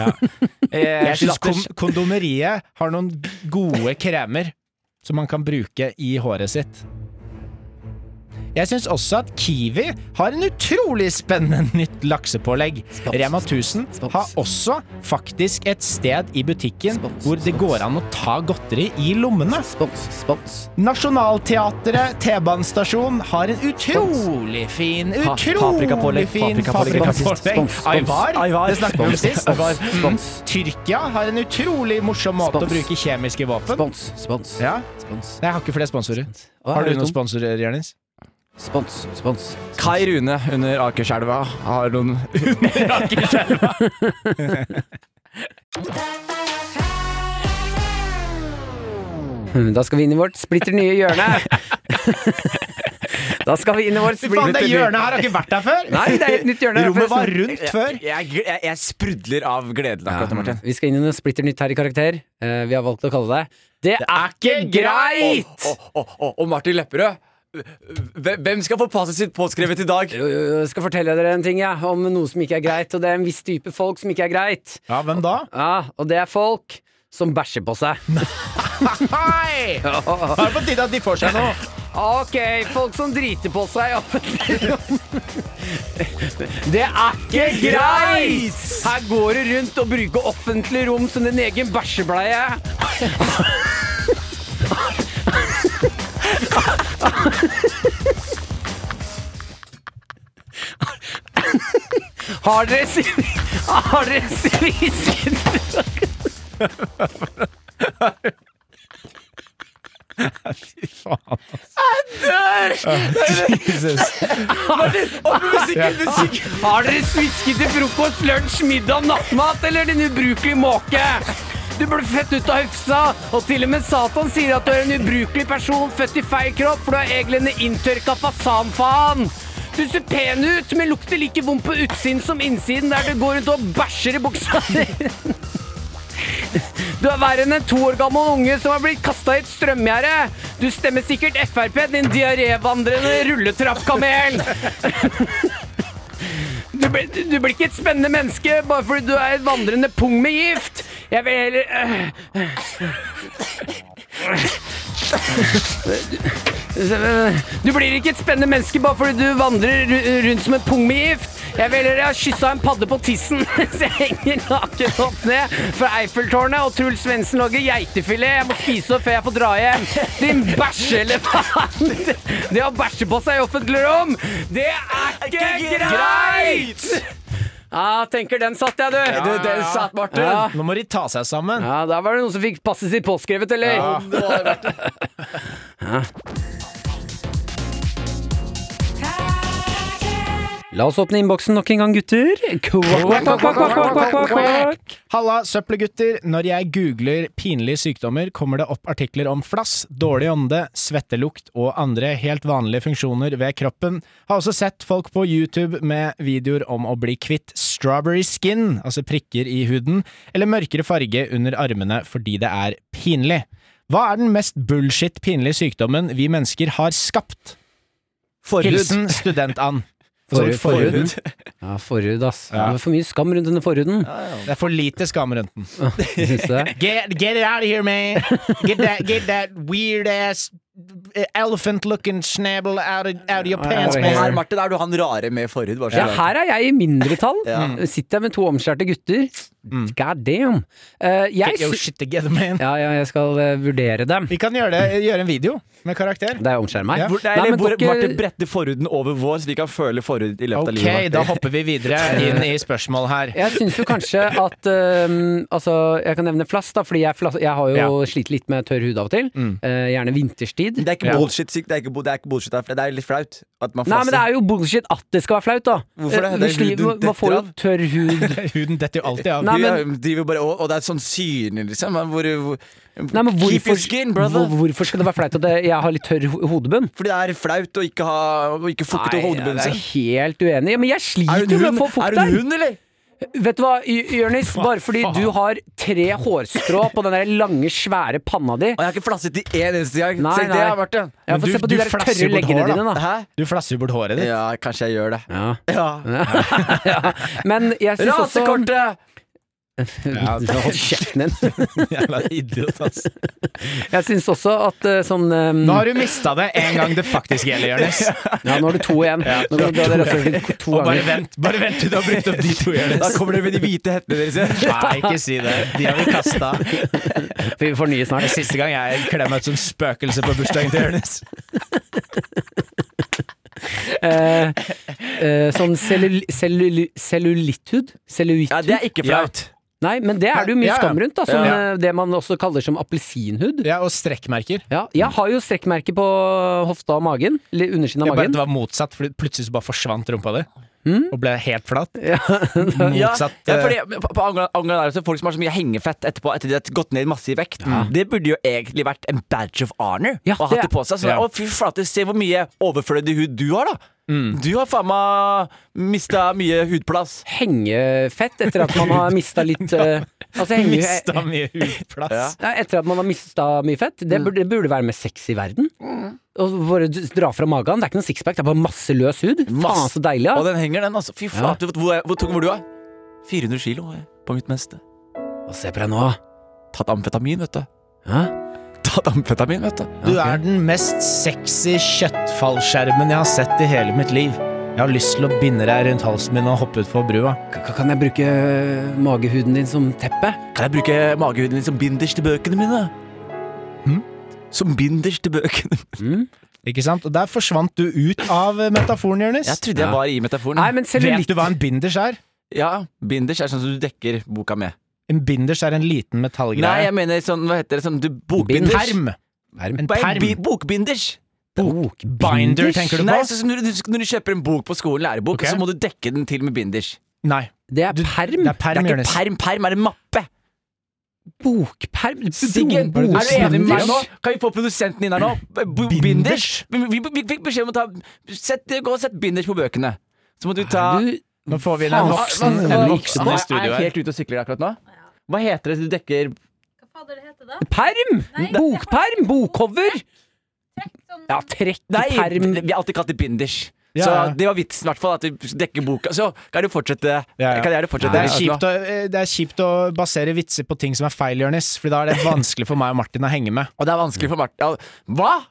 Speaker 5: Jeg syns
Speaker 4: slatters-
Speaker 5: kon kondomeriet har noen gode kremer som man kan bruke i håret sitt. Jeg syns også at Kiwi har en utrolig spennende nytt laksepålegg. Rema 1000 har også faktisk et sted i butikken hvor det går an å ta godteri i lommene. Nationaltheatret T-banestasjon har en utrolig fin Utrolig
Speaker 4: paprikapålegg,
Speaker 5: fin
Speaker 4: paprikapålegg.
Speaker 3: Spons,
Speaker 5: paprikapålegg.
Speaker 3: spons.
Speaker 5: Aivar,
Speaker 4: Aivar.
Speaker 5: det snakket vi om sist.
Speaker 3: Spons, spons,
Speaker 5: Tyrkia har en utrolig morsom måte å
Speaker 3: Spons.
Speaker 5: bruke kjemiske våpen
Speaker 3: spons, spons,
Speaker 5: Ja,
Speaker 3: spons.
Speaker 5: Nei, jeg har ikke flere
Speaker 3: Å,
Speaker 5: sponsorer. Har
Speaker 3: er
Speaker 5: du
Speaker 3: det
Speaker 5: noen
Speaker 3: tom?
Speaker 5: sponsorer, Jørnis?
Speaker 3: Spons, spons.
Speaker 4: Kai Rune under Akerselva har noen
Speaker 3: Da skal vi inn i vårt splitter nye hjørne. da skal vi inn i vårt
Speaker 5: Fy faen,
Speaker 3: splitter
Speaker 5: det hjørnet her har ikke vært der før!
Speaker 3: Nei, det er et nytt hjørne.
Speaker 5: Rommet var
Speaker 3: forresten.
Speaker 5: rundt før.
Speaker 4: Jeg, jeg, jeg sprudler av gleden akkurat nå, Martin.
Speaker 3: Vi skal inn i noe splitter nytt her i karakter. Eh, vi har valgt å kalle det Det er ikke greit!
Speaker 4: Og, og, og, og Martin Lepperød. Hvem hvem skal få passet sitt påskrevet i dag?
Speaker 3: Jo, jo, jo, Jeg skal fortelle dere en ting ja, om noe som ikke er greit, og det er en viss type folk som ikke er greit.
Speaker 5: Ja, hvem da?
Speaker 3: Ja, Og det er folk som bæsjer på seg.
Speaker 5: Hei! Nå er det på tide at de får seg noe.
Speaker 3: Ok, folk som driter på seg i offentlig rom. Det er ikke greit! Her går det rundt og bruker offentlig rom som din egen bæsjebleie. Har dere svi- Har dere svisket
Speaker 5: Faen.
Speaker 3: Har dere svisket til frokost, lunsj, middag, nattmat eller din ubrukelige måke? Du ble født ut av høfsa, og til og med Satan sier at du er en ubrukelig person født i feil kropp, for du har eglene inntørka fasanfaen. Du ser pen ut, men lukter like vondt på utsiden som innsiden, der du går rundt og bæsjer i buksa di. Du er verre enn en to år gammel unge som har blitt kasta i et strømgjerde. Du stemmer sikkert Frp, din diarévandrende rulletrappkamel. Du blir, du blir ikke et spennende menneske bare fordi du er et vandrende pung med gift. Jeg vil heller øh, øh. Du blir ikke et spennende menneske bare fordi du vandrer ru- rundt som en pung med gift. Jeg vil heller ha kyssa en padde på tissen mens jeg henger naken opp ned fra Eiffeltårnet, og Truls Svendsen lager geitefilet. Jeg må spise opp før jeg får dra hjem. Din bæsjeelefant! Det å bæsje på seg i offentlig rom, det er ikke greit! Ja, tenker den satt jeg, du.
Speaker 4: Du, den satt, Martin.
Speaker 3: Ja.
Speaker 5: Nå må de ta seg sammen.
Speaker 3: Ja, der var det noen som fikk passet sitt påskrevet, eller?
Speaker 5: Ja.
Speaker 3: La oss åpne innboksen nok en gang, gutter. Kvakk, kvakk, kvakk, kvakk, kvakk, kvakk, kvakk.
Speaker 5: Halla, søppelgutter. Når jeg googler pinlige sykdommer, kommer det opp artikler om flass, dårlig ånde, svettelukt og andre helt vanlige funksjoner ved kroppen. Har også sett folk på YouTube med videoer om å bli kvitt strawberry skin, altså prikker i huden, eller mørkere farge under armene fordi det er pinlig. Hva er den mest bullshit pinlige sykdommen vi mennesker har skapt? Hilsen student-Ann.
Speaker 3: Forhud.
Speaker 5: Altså, forhuden.
Speaker 3: Ja, forhud, ass.
Speaker 5: Ja.
Speaker 3: Det var for mye skam rundt denne forhuden.
Speaker 5: Det er for lite skam rundt den.
Speaker 3: Synes jeg.
Speaker 5: Get, get it out of here, man. Get that, get that weird ass eh, elephant looking snabble out of, out of your pants,
Speaker 4: Og
Speaker 3: Ja,
Speaker 5: man.
Speaker 4: her, Martin, er du han rare med forhud. Bare så
Speaker 3: Ja,
Speaker 4: du vet.
Speaker 3: her er jeg i mindretall.
Speaker 4: Ja.
Speaker 3: Sitter jeg med to omskjærte gutter. God damn. Eh, jeg
Speaker 5: Get your
Speaker 3: sy-
Speaker 5: Mm. shit together, man.
Speaker 3: ja, ja, jeg skal eh, vurdere dem.
Speaker 5: Vi kan gjøre, det, gjøre en video med karakter.
Speaker 3: Det er omskjære meg.
Speaker 5: Ja.
Speaker 4: Hvor, nei,
Speaker 3: Nei,
Speaker 4: eller
Speaker 3: men eh,
Speaker 4: hvor
Speaker 3: dere-
Speaker 4: Martin bretter forhuden over vår, så vi kan føle forhud i løpet av
Speaker 5: Ok,
Speaker 4: livet. Martin.
Speaker 5: da hopper vi videre inn i spørsmål her.
Speaker 3: Jeg syns jo kanskje at øhm, Altså, jeg kan nevne flass, da, fordi jeg, flass, jeg har jo
Speaker 5: Ja. Mm.
Speaker 3: slitt litt med tørr hud av og til. Eh, gjerne vinterstid.
Speaker 4: Det er ikke
Speaker 5: Ja.
Speaker 4: bullshit, syk- det er ikke, bo- det er ikke bullshit her, for det er litt flaut. At man
Speaker 3: Nei, men det
Speaker 4: flasser.
Speaker 3: er jo bullshit at det skal være flaut, da.
Speaker 4: Hvorfor det?
Speaker 3: Eh,
Speaker 4: Det er
Speaker 3: sli-
Speaker 4: huden
Speaker 3: man- Man får jo
Speaker 4: detter av.
Speaker 3: tørr hud
Speaker 5: Huden detter jo alltid av.
Speaker 3: Nei,
Speaker 4: Vi,
Speaker 3: men-
Speaker 4: eh, driver bare, og, og det er sånn syne, liksom. men Hvor, hvor,
Speaker 3: Nei, men
Speaker 4: keep
Speaker 3: hvorfor,
Speaker 4: your skin, brother.
Speaker 3: hvor, hvorfor skal det være flaut at det- jeg har litt tørr ho- hodebunn?
Speaker 4: Fordi det er flaut å ikke, ha, å ikke fukte hodebunnen
Speaker 3: jeg er
Speaker 4: sin.
Speaker 3: helt uenig. Men jeg
Speaker 4: Er
Speaker 3: sliter
Speaker 4: du
Speaker 3: jo med
Speaker 4: en
Speaker 3: å få
Speaker 4: hund?
Speaker 3: fukt
Speaker 4: Er du
Speaker 3: der.
Speaker 4: en hund, eller?
Speaker 3: Vet du hva, Y- Jørnis? Bare fordi du har tre hårstrå på den der lange, svære panna di.
Speaker 4: Og jeg har ikke flasset i én eneste gang.
Speaker 3: Nei,
Speaker 4: Tenk det,
Speaker 3: nei.
Speaker 4: Martin.
Speaker 3: Ja,
Speaker 5: Men
Speaker 3: Få
Speaker 5: du-
Speaker 3: se på
Speaker 5: du
Speaker 3: de der
Speaker 5: flasser
Speaker 3: tørre
Speaker 5: bort
Speaker 3: leggene
Speaker 5: hår, da.
Speaker 3: dine, da.
Speaker 4: Hæ?
Speaker 5: Du flasser jo bort håret ditt.
Speaker 4: Ja, kanskje jeg gjør det.
Speaker 3: Ja.
Speaker 4: Ja.
Speaker 3: Men jeg syns også
Speaker 4: Rasekortet!
Speaker 5: Ja, det-
Speaker 3: Hold kjeften din.
Speaker 5: Jævla idiot, ass.
Speaker 4: Mm.
Speaker 3: Jeg syns også at eh, sånn um,
Speaker 5: Nå har du mista det en gang det faktisk gjelder, Jonis.
Speaker 3: Ja, nå har du to igjen. Nå kan du ha det resten to
Speaker 5: Og bare
Speaker 3: ganger.
Speaker 5: vent, bare vent til du har brukt opp de to,
Speaker 4: Da
Speaker 5: Jonis.
Speaker 4: kommer dere med de hvite hettene deres igjen.
Speaker 5: Nei, ikke si det. De har vi kasta.
Speaker 3: Vi får nye
Speaker 5: Det
Speaker 3: snart.
Speaker 5: er siste gang jeg kler meg ut som spøkelse på bursdagen til Jonis.
Speaker 3: Eh, eh, sånn cellul cellul cellulitthud? Cellulitthud?
Speaker 4: Ja, det er ikke flaut.
Speaker 3: Nei, men det er det jo mye
Speaker 5: Ja, ja.
Speaker 3: skam rundt. Da, sånn,
Speaker 5: Ja.
Speaker 3: eh, Det man også kaller som appelsinhud.
Speaker 5: Ja, og strekkmerker.
Speaker 3: Ja, jeg har jo strekkmerke på hofta og magen. Eller undersiden
Speaker 5: Det,
Speaker 3: av
Speaker 5: bare,
Speaker 3: magen.
Speaker 5: det var motsatt, for plutselig så bare forsvant rumpa di. Og ble helt flat.
Speaker 4: Ja,
Speaker 5: Motsatt.
Speaker 4: ja,
Speaker 5: eh,
Speaker 4: fordi på, på Angela, Angela er det også folk som har så mye hengefett etterpå etter de har gått ned masse i vekt. Det burde jo egentlig vært en badge of honor
Speaker 3: Ja,
Speaker 4: å ha
Speaker 3: det-
Speaker 4: det på seg. Så,
Speaker 5: Ja.
Speaker 4: Å, fy flate, se hvor mye overflødig hud du har, da. Du har faen meg mista mye hudplass.
Speaker 3: Hengefett etter at man har mista litt eh, Altså, henge,
Speaker 5: Mista mye hudplass.
Speaker 3: ja, etter at man har mista mye fett. Det
Speaker 5: Mm.
Speaker 3: burde, det burde være med sex i verden. Og bare d- dra fra magen. Det er ikke noe sixpack, det er bare masse løs hud. Faen,
Speaker 4: Masse-
Speaker 3: så deilig.
Speaker 4: Og
Speaker 3: Ja.
Speaker 4: den henger, den, altså. Fy flate, vet du hvor, hvor tung var du? da? 400 kilo eh, på mitt meste.
Speaker 3: Og se på deg nå.
Speaker 4: Tatt amfetamin, vet du.
Speaker 3: Hæ?
Speaker 4: tatt amfetamin, vet du.
Speaker 5: Du er den mest sexy kjøttfallskjermen jeg har sett i hele mitt liv. Jeg har lyst til å binde deg rundt halsen min og hoppe utfor brua.
Speaker 3: K- Kan jeg bruke eh, magehuden din som teppe?
Speaker 5: Mm.
Speaker 4: Kan jeg bruke magehuden din som binders til bøkene mine?
Speaker 5: Hm?
Speaker 4: Som binders til bøkene
Speaker 3: Mm.
Speaker 5: Ikke sant? Og der forsvant du ut av eh, metaforen, Jonis.
Speaker 4: Jeg trodde jeg
Speaker 3: Ja.
Speaker 4: var i metaforen.
Speaker 3: Nei, men
Speaker 5: Vet
Speaker 3: cellulitt
Speaker 5: du hva en binders er?
Speaker 4: Ja, Binders er sånn som du dekker boka med.
Speaker 5: En binders er en liten
Speaker 4: Nei,
Speaker 5: metallgreie.
Speaker 4: jeg mener sånn, hva heter det, sånn du
Speaker 5: En
Speaker 4: bokbinders.
Speaker 5: perm.
Speaker 3: Perm.
Speaker 5: En
Speaker 4: Nei, bi-
Speaker 5: perm.
Speaker 4: Bokbinders!
Speaker 5: Binder, tenker du på?
Speaker 4: Nei, sånn som når du, når du kjøper en bok på skolen, lærebok,
Speaker 5: Ok.
Speaker 4: så må du dekke den til med binders.
Speaker 5: Nei.
Speaker 3: Det er
Speaker 5: Du-
Speaker 3: perm.
Speaker 5: Det er
Speaker 4: Det
Speaker 5: perm,
Speaker 4: er ikke
Speaker 5: Jonis.
Speaker 4: perm, perm er en mappe.
Speaker 3: Bokperm?
Speaker 4: Siggen,
Speaker 5: Hva er
Speaker 4: er
Speaker 5: det
Speaker 4: du
Speaker 5: du
Speaker 4: enig med meg
Speaker 5: snakker
Speaker 4: nå?
Speaker 5: om?
Speaker 4: Kan vi få produsenten inn her nå? B- Binders?
Speaker 5: Binders?
Speaker 4: Vi, vi, vi fikk beskjed om å ta sett, Gå og sett binders på bøkene. Så må du ta
Speaker 3: Du,
Speaker 5: Nå får vi inn en
Speaker 3: Faen,
Speaker 5: voksen,
Speaker 3: hva-
Speaker 5: en
Speaker 3: hva-
Speaker 5: voksen i
Speaker 4: Er
Speaker 5: studio
Speaker 4: jeg
Speaker 5: her.
Speaker 4: helt ute og sykler akkurat nå? Hva heter det du dekker
Speaker 6: Hva fader det heter det?
Speaker 3: perm!
Speaker 6: Nei, det-
Speaker 3: Bokperm! Bokcover!
Speaker 6: Trekk sånn
Speaker 3: Ja, trekk i
Speaker 4: Nei,
Speaker 3: perm.
Speaker 4: vi har alltid kalt det binders.
Speaker 5: Ja,
Speaker 4: Så
Speaker 5: ja.
Speaker 4: det var vitsen, i hvert fall. At du dekker boka. Så kan du fortsette.
Speaker 5: Ja, ja.
Speaker 4: Kan jeg gjerne fortsette
Speaker 5: Det er,
Speaker 4: Jonas, nå?
Speaker 5: kjipt å, eh, det er kjipt å basere vitser på ting som er feil, Jonis. For da er det vanskelig for meg og Martin å henge med.
Speaker 4: Og det er vanskelig for Martin ja, Hva?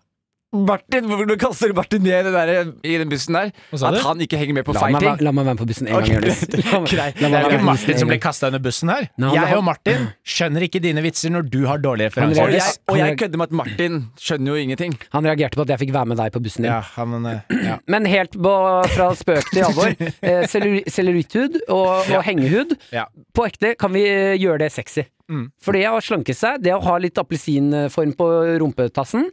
Speaker 4: Martin, Hvordan kaster du Martin ned i den der, i den bussen der?
Speaker 5: Hva sa
Speaker 4: At
Speaker 5: du?
Speaker 4: han ikke henger med på
Speaker 3: La
Speaker 4: feil
Speaker 3: meg,
Speaker 4: ting?
Speaker 3: være- la meg være med på bussen en
Speaker 4: Ok,
Speaker 3: gang, Jonis. La meg-
Speaker 4: greit.
Speaker 3: la meg
Speaker 5: Det
Speaker 3: være
Speaker 5: er jo
Speaker 3: med
Speaker 5: ikke
Speaker 3: på bussen
Speaker 5: Martin
Speaker 3: en
Speaker 5: som blir
Speaker 3: gang.
Speaker 5: kasta under bussen her.
Speaker 3: Nei, han-
Speaker 5: Jeg og Martin skjønner ikke dine vitser når du har dårlige
Speaker 3: Han
Speaker 4: Og
Speaker 5: referanser.
Speaker 3: reagerer-
Speaker 4: jeg, og jeg
Speaker 3: Han-
Speaker 4: kødder med at Martin skjønner jo ingenting.
Speaker 3: Han reagerte på at jeg fikk være med deg på bussen din.
Speaker 5: Ja, han, eh, ja.
Speaker 3: Men helt på- fra spøk til alvor. Eh, cellu- Cellulitthud og, og hengehud.
Speaker 5: Ja.
Speaker 3: På ekte kan vi eh, gjøre det sexy.
Speaker 5: Mm.
Speaker 3: For det å slanke seg, det å ha litt appelsinform på rumpetassen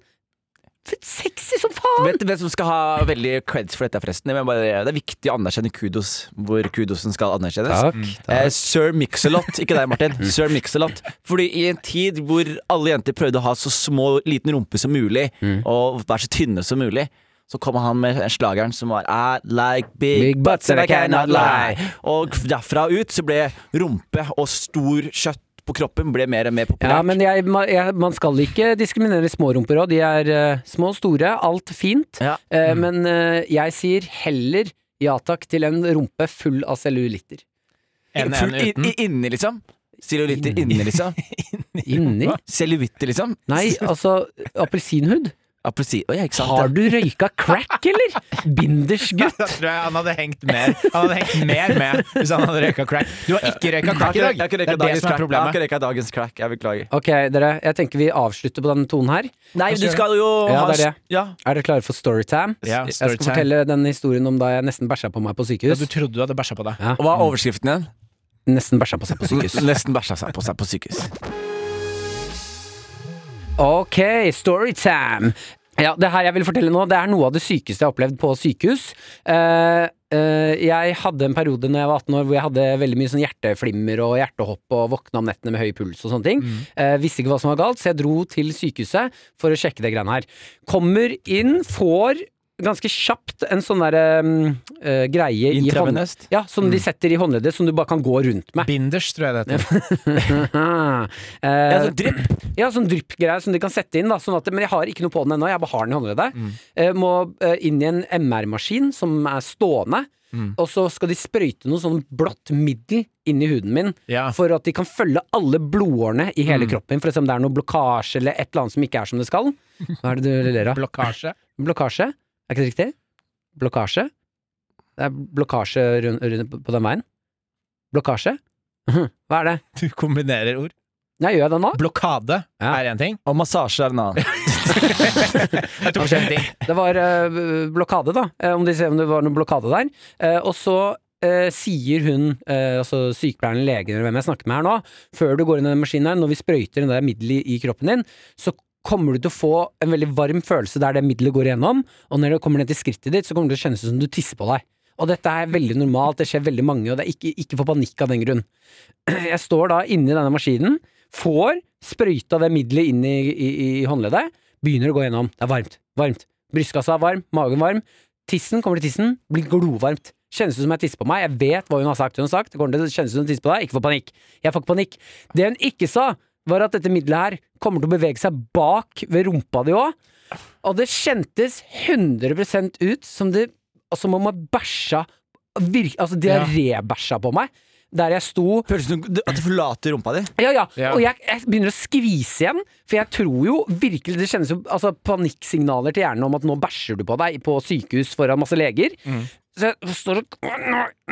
Speaker 3: for Sexy som faen!
Speaker 4: Vet du hvem som skal ha veldig creds for dette, forresten? Jeg mener bare, det er viktig å anerkjenne kudos hvor kudosen skal anerkjennes. Eh, Sir Mix-a-Lot, ikke deg Martin. Sir Mix-a-Lot. Fordi i en tid hvor alle jenter prøvde å ha så små, liten rumpe som mulig, og være så tynne som mulig, så kom han med slageren som var I like big,
Speaker 3: Big
Speaker 4: butts and I cannot lie.
Speaker 3: lie.
Speaker 4: Og derfra ut så ble rumpe og stor kjøtt på kroppen ble mer og mer populært.
Speaker 3: Ja, men jeg, ma- jeg, man skal ikke diskriminere smårumper òg. De er eh, små og store, alt fint.
Speaker 4: Ja.
Speaker 5: Mm.
Speaker 3: Eh, men eh, jeg sier heller ja takk til en rumpe full av cellulitter.
Speaker 5: En, en
Speaker 4: Full- i-
Speaker 5: uten.
Speaker 4: i- Inni, liksom. Cellulitter inni, liksom.
Speaker 3: Inni?
Speaker 4: Cellulitter, liksom.
Speaker 3: Nei, altså appelsinhud.
Speaker 4: Appelsin Å ja, ikke sant.
Speaker 3: Har du røyka crack, eller?
Speaker 5: Da
Speaker 3: Bindersgutt.
Speaker 5: tror jeg han hadde hengt mer Han hadde hengt mer med hvis han hadde røyka crack. Du har ikke
Speaker 4: Jeg
Speaker 5: røyka
Speaker 4: har
Speaker 5: crack i
Speaker 4: ikke-
Speaker 5: dag.
Speaker 4: jeg har ikke røyka
Speaker 5: Det er det
Speaker 4: dagens crack. Jeg
Speaker 5: som er
Speaker 4: har
Speaker 5: problemet.
Speaker 4: ikke røyka dagens crack. Jeg beklager.
Speaker 3: Ok, dere. Jeg tenker vi avslutter på denne tonen her.
Speaker 4: Nei, du skal jo
Speaker 3: Ja,
Speaker 4: ha
Speaker 3: det er det.
Speaker 4: Ja.
Speaker 3: Er dere klare for storytime?
Speaker 5: Ja,
Speaker 3: jeg
Speaker 5: storytime.
Speaker 3: skal fortelle den historien om da jeg nesten bæsja på meg på
Speaker 5: Ja,
Speaker 3: sykehus.
Speaker 5: Du trodde du hadde bæsja på deg.
Speaker 3: Ja,
Speaker 4: Og hva er overskriften igjen?
Speaker 3: nesten bæsja på seg på sykehus.
Speaker 4: Nesten bæsja seg på seg på sykehus.
Speaker 3: Ok, storytime. Ja, det her jeg vil fortelle nå, det er noe av det sykeste jeg har opplevd på sykehus. Eh, eh, jeg hadde en periode når jeg var 18 år hvor jeg hadde veldig mye sånn hjerteflimmer og hjertehopp og våkna om nettene med høy puls og sånne ting.
Speaker 4: Mm.
Speaker 3: Eh, visste ikke hva som var galt, så jeg dro til sykehuset for å sjekke det greiene her. Kommer inn, får ganske kjapt en sånn derre greie i hånd...
Speaker 4: Intravenøst. Mm.
Speaker 3: Ja, som de setter i håndleddet, som du bare kan gå rundt med.
Speaker 5: Binders, tror jeg det heter.
Speaker 3: Eh,
Speaker 4: Ja, så drypp.
Speaker 3: ja, sånn dryppgreie som de kan sette inn. Da, sånn at, men jeg har ikke noe på den ennå, jeg bare har den i håndleddet. Eh, må eh, inn i en MR-maskin som er stående, og så skal de sprøyte noe sånn blått middel inn i huden min.
Speaker 5: Ja.
Speaker 3: For at de kan følge alle blodårene i hele kroppen, for å se om det er noe blokkasje eller et eller annet som ikke er som det skal. Hva er det du ler av?
Speaker 5: Blokkasje.
Speaker 3: Blokkasje? Er ikke det riktig? Blokkasje? Det er blokkasje rundt, rundt på den veien. Blokkasje? Hva er det?
Speaker 5: Du kombinerer ord.
Speaker 3: Nei, gjør jeg det nå?
Speaker 5: Blokkade
Speaker 3: Ja.
Speaker 5: er én ting. Altså,
Speaker 4: Og massasje er en annen.
Speaker 5: Jeg tok en ting.
Speaker 3: Det var eh, blokade, da. eh, om de ser om det var noen blokade der. Eh, og så eh, sier hun, eh, altså sykepleieren, legen eller hvem jeg snakker med her nå, før du går inn i den maskinen her, når vi sprøyter det der middelet i kroppen din, så kommer du til å få en veldig varm følelse der det middelet går igjennom, og når det kommer ned til skrittet ditt, så kommer det til å kjennes ut som du tisser på deg. Og dette er veldig normalt, det skjer veldig mange, og det er ikke, ikke få panikk av den grunn. Jeg står da inni denne maskinen, får sprøyta det middelet inn i, i, i håndleddet, begynner å gå gjennom. Det er varmt, varmt. Brystkassa er varm, magen varm. Tissen kommer til tissen, blir glovarmt. Kjennes ut som jeg tisser på meg. Jeg vet hva hun har sagt. Hun har sagt det kommer til å kjennes ut som hun tisser på deg. Ikke få panikk. Jeg får ikke panikk. Det hun ikke sa, var at dette middelet her kommer til å bevege seg bak ved rumpa di òg. Og det kjentes 100 altså, ut som det Som om jeg bæsja virk- Altså diarébæsja på meg. der jeg sto
Speaker 4: Føles det som du- at du forlater rumpa di.
Speaker 3: Ja, ja.
Speaker 5: Ja.
Speaker 3: Og jeg, jeg begynner å skvise igjen, for jeg tror jo virkelig Det kjennes jo altså, panikksignaler til hjernen om at nå bæsjer du på deg på sykehus foran masse leger. Så jeg står og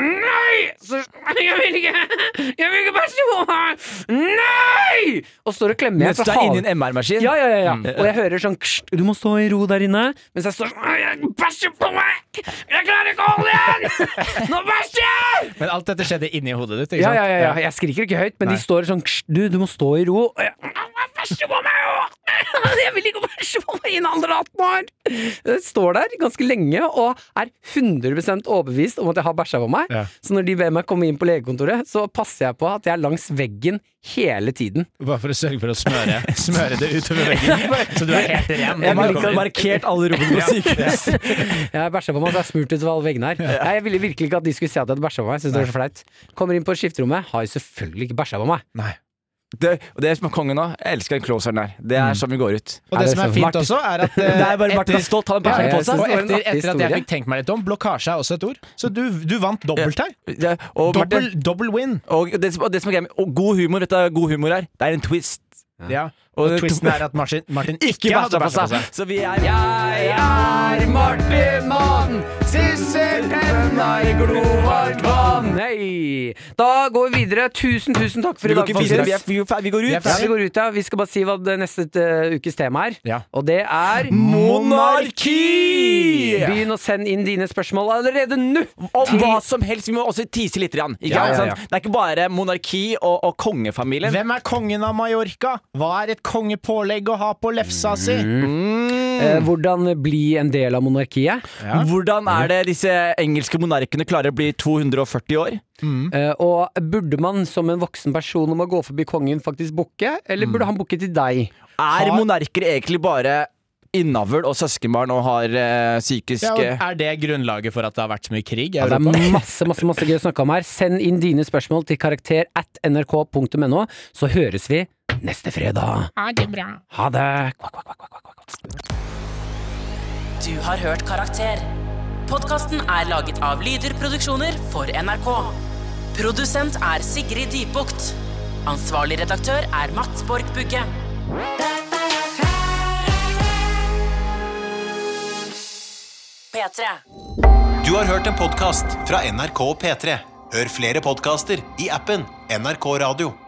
Speaker 3: Nei! Så, jeg vil ikke Jeg vil ikke bæsje på meg! Nei! Og står og klemmer
Speaker 4: Mens
Speaker 3: igjen.
Speaker 4: du
Speaker 3: for
Speaker 4: er inni
Speaker 3: halen-
Speaker 4: en MR-maskin.
Speaker 3: ja, ja, ja, ja. Og jeg hører sånn kst, Du må stå i ro der inne. Mens jeg står sånn «Nei, Jeg bæsjer på meg! Jeg klarer ikke å holde igjen! Nå bæsjer jeg!
Speaker 5: Men alt dette skjedde inni hodet ditt, ikke
Speaker 3: Ja,
Speaker 5: sant?
Speaker 3: ja, ja, ja. Jeg skriker ikke høyt, men de står sånn «Kst, Du, du må stå i ro. Og jeg, «Jeg bæsjer på meg også!» Jeg vil ikke bæsje på meg innen alder av 18 år! Jeg står der ganske lenge og er 100 overbevist om at jeg har bæsja på meg.
Speaker 5: Ja.
Speaker 3: Så når de ber meg komme inn på legekontoret, så passer jeg på at jeg er langs veggen hele tiden.
Speaker 5: Bare for å sørge for å smøre, smøre det utover veggen, så du er helt ren.
Speaker 4: Jeg
Speaker 5: når du
Speaker 4: merker-
Speaker 5: kommer.
Speaker 4: markert alle rommene på sykehus.
Speaker 3: Jeg bæsja på meg, så jeg er smurt utover alle veggene her. Nei, Jeg ville virkelig ikke at de skulle se at jeg hadde bæsja på meg. Synes det var så flaut. Kommer inn på skifterommet, har jo selvfølgelig ikke bæsja på meg.
Speaker 5: Nei.
Speaker 4: Det, og det som er kongen nå, jeg elsker den closeren der. Det er sånn vi går ut.
Speaker 5: Og
Speaker 3: Er
Speaker 5: det
Speaker 3: det
Speaker 5: som er
Speaker 3: så-
Speaker 5: fint
Speaker 3: Martin-
Speaker 5: også, er at
Speaker 4: Det er bare Martin
Speaker 5: etter,
Speaker 4: har stått, han har bæsja
Speaker 3: Ja,
Speaker 4: på
Speaker 3: jeg
Speaker 5: og
Speaker 4: seg.
Speaker 3: synes- Det var
Speaker 5: etter,
Speaker 3: en
Speaker 5: etter at
Speaker 3: artig
Speaker 5: jeg
Speaker 3: historie.
Speaker 5: fikk tenkt meg litt om, blokkasje er også et ord. Så du, du vant dobbelt her.
Speaker 4: Ja, og, Martin,
Speaker 5: Dobbel, dobbel win.
Speaker 4: og, det, som- og det som er greia med og god humor, vet du, hva god humor her, det er en twist.
Speaker 5: Ja.
Speaker 4: Og
Speaker 5: Og twisten er at Martin, Martin ikke
Speaker 4: ikke altså. bæsja på
Speaker 5: hadde bæsja på
Speaker 4: seg.
Speaker 5: seg.
Speaker 4: Så vi er Jeg er Martin Mann, sisselpenna i glovart vann.
Speaker 3: Nei! Da går vi videre. Tusen, tusen takk for
Speaker 4: Vi
Speaker 3: i
Speaker 4: går
Speaker 3: dag,
Speaker 4: ikke videre, vi,
Speaker 3: folkens.
Speaker 4: er, vi, er fer- vi går
Speaker 5: Vi er
Speaker 4: ut.
Speaker 3: Ja, vi går ut, ja. Vi skal bare si hva det neste eh, ukes tema er.
Speaker 5: Ja.
Speaker 3: Og det er
Speaker 4: Monarki!
Speaker 3: Begynn å sende inn dine spørsmål allerede nå!
Speaker 4: Om
Speaker 3: Til-
Speaker 4: hva som helst. Vi må også tise litt. Grann, ikke
Speaker 5: Ja,
Speaker 4: sant?
Speaker 5: ja, ja.
Speaker 4: Sånn, Det er ikke bare monarki og, og kongefamilien.
Speaker 5: Hvem er kongen av Mallorca? Hva er et kongepålegg å ha på lefsa si?
Speaker 3: eh, hvordan bli en del av monarkiet.
Speaker 5: Mm. Ja.
Speaker 4: Hvordan er det disse engelske monarkene klarer å bli 240 år?
Speaker 3: Eh, og burde man som en voksen person om å gå forbi kongen faktisk bukke, eller
Speaker 5: Mm.
Speaker 3: burde han bukke til deg?
Speaker 4: Er
Speaker 5: Har-
Speaker 4: monarker egentlig bare innavl og søskenbarn og har eh,
Speaker 5: Ja,
Speaker 4: psykiske
Speaker 5: og er det grunnlaget for at det har vært så mye krig i
Speaker 3: Ja, det
Speaker 5: Europa?
Speaker 3: er masse masse, masse gøy å snakke om her. Send inn dine spørsmål til karakter at nrk.no, så høres vi neste fredag.
Speaker 1: Ha det bra.
Speaker 3: Ha det! Kvakk, kvakk, kvakk, kvakk, kvakk.
Speaker 2: Du har hørt Karakter. Podkasten er laget av Lyder Produksjoner for NRK. Produsent er Sigrid Dybukt. Ansvarlig redaktør er Mats Borg Bugge. P3.
Speaker 7: Du har hørt en podcast fra NRK P3. Hør flere podcaster i appen NRK Radio.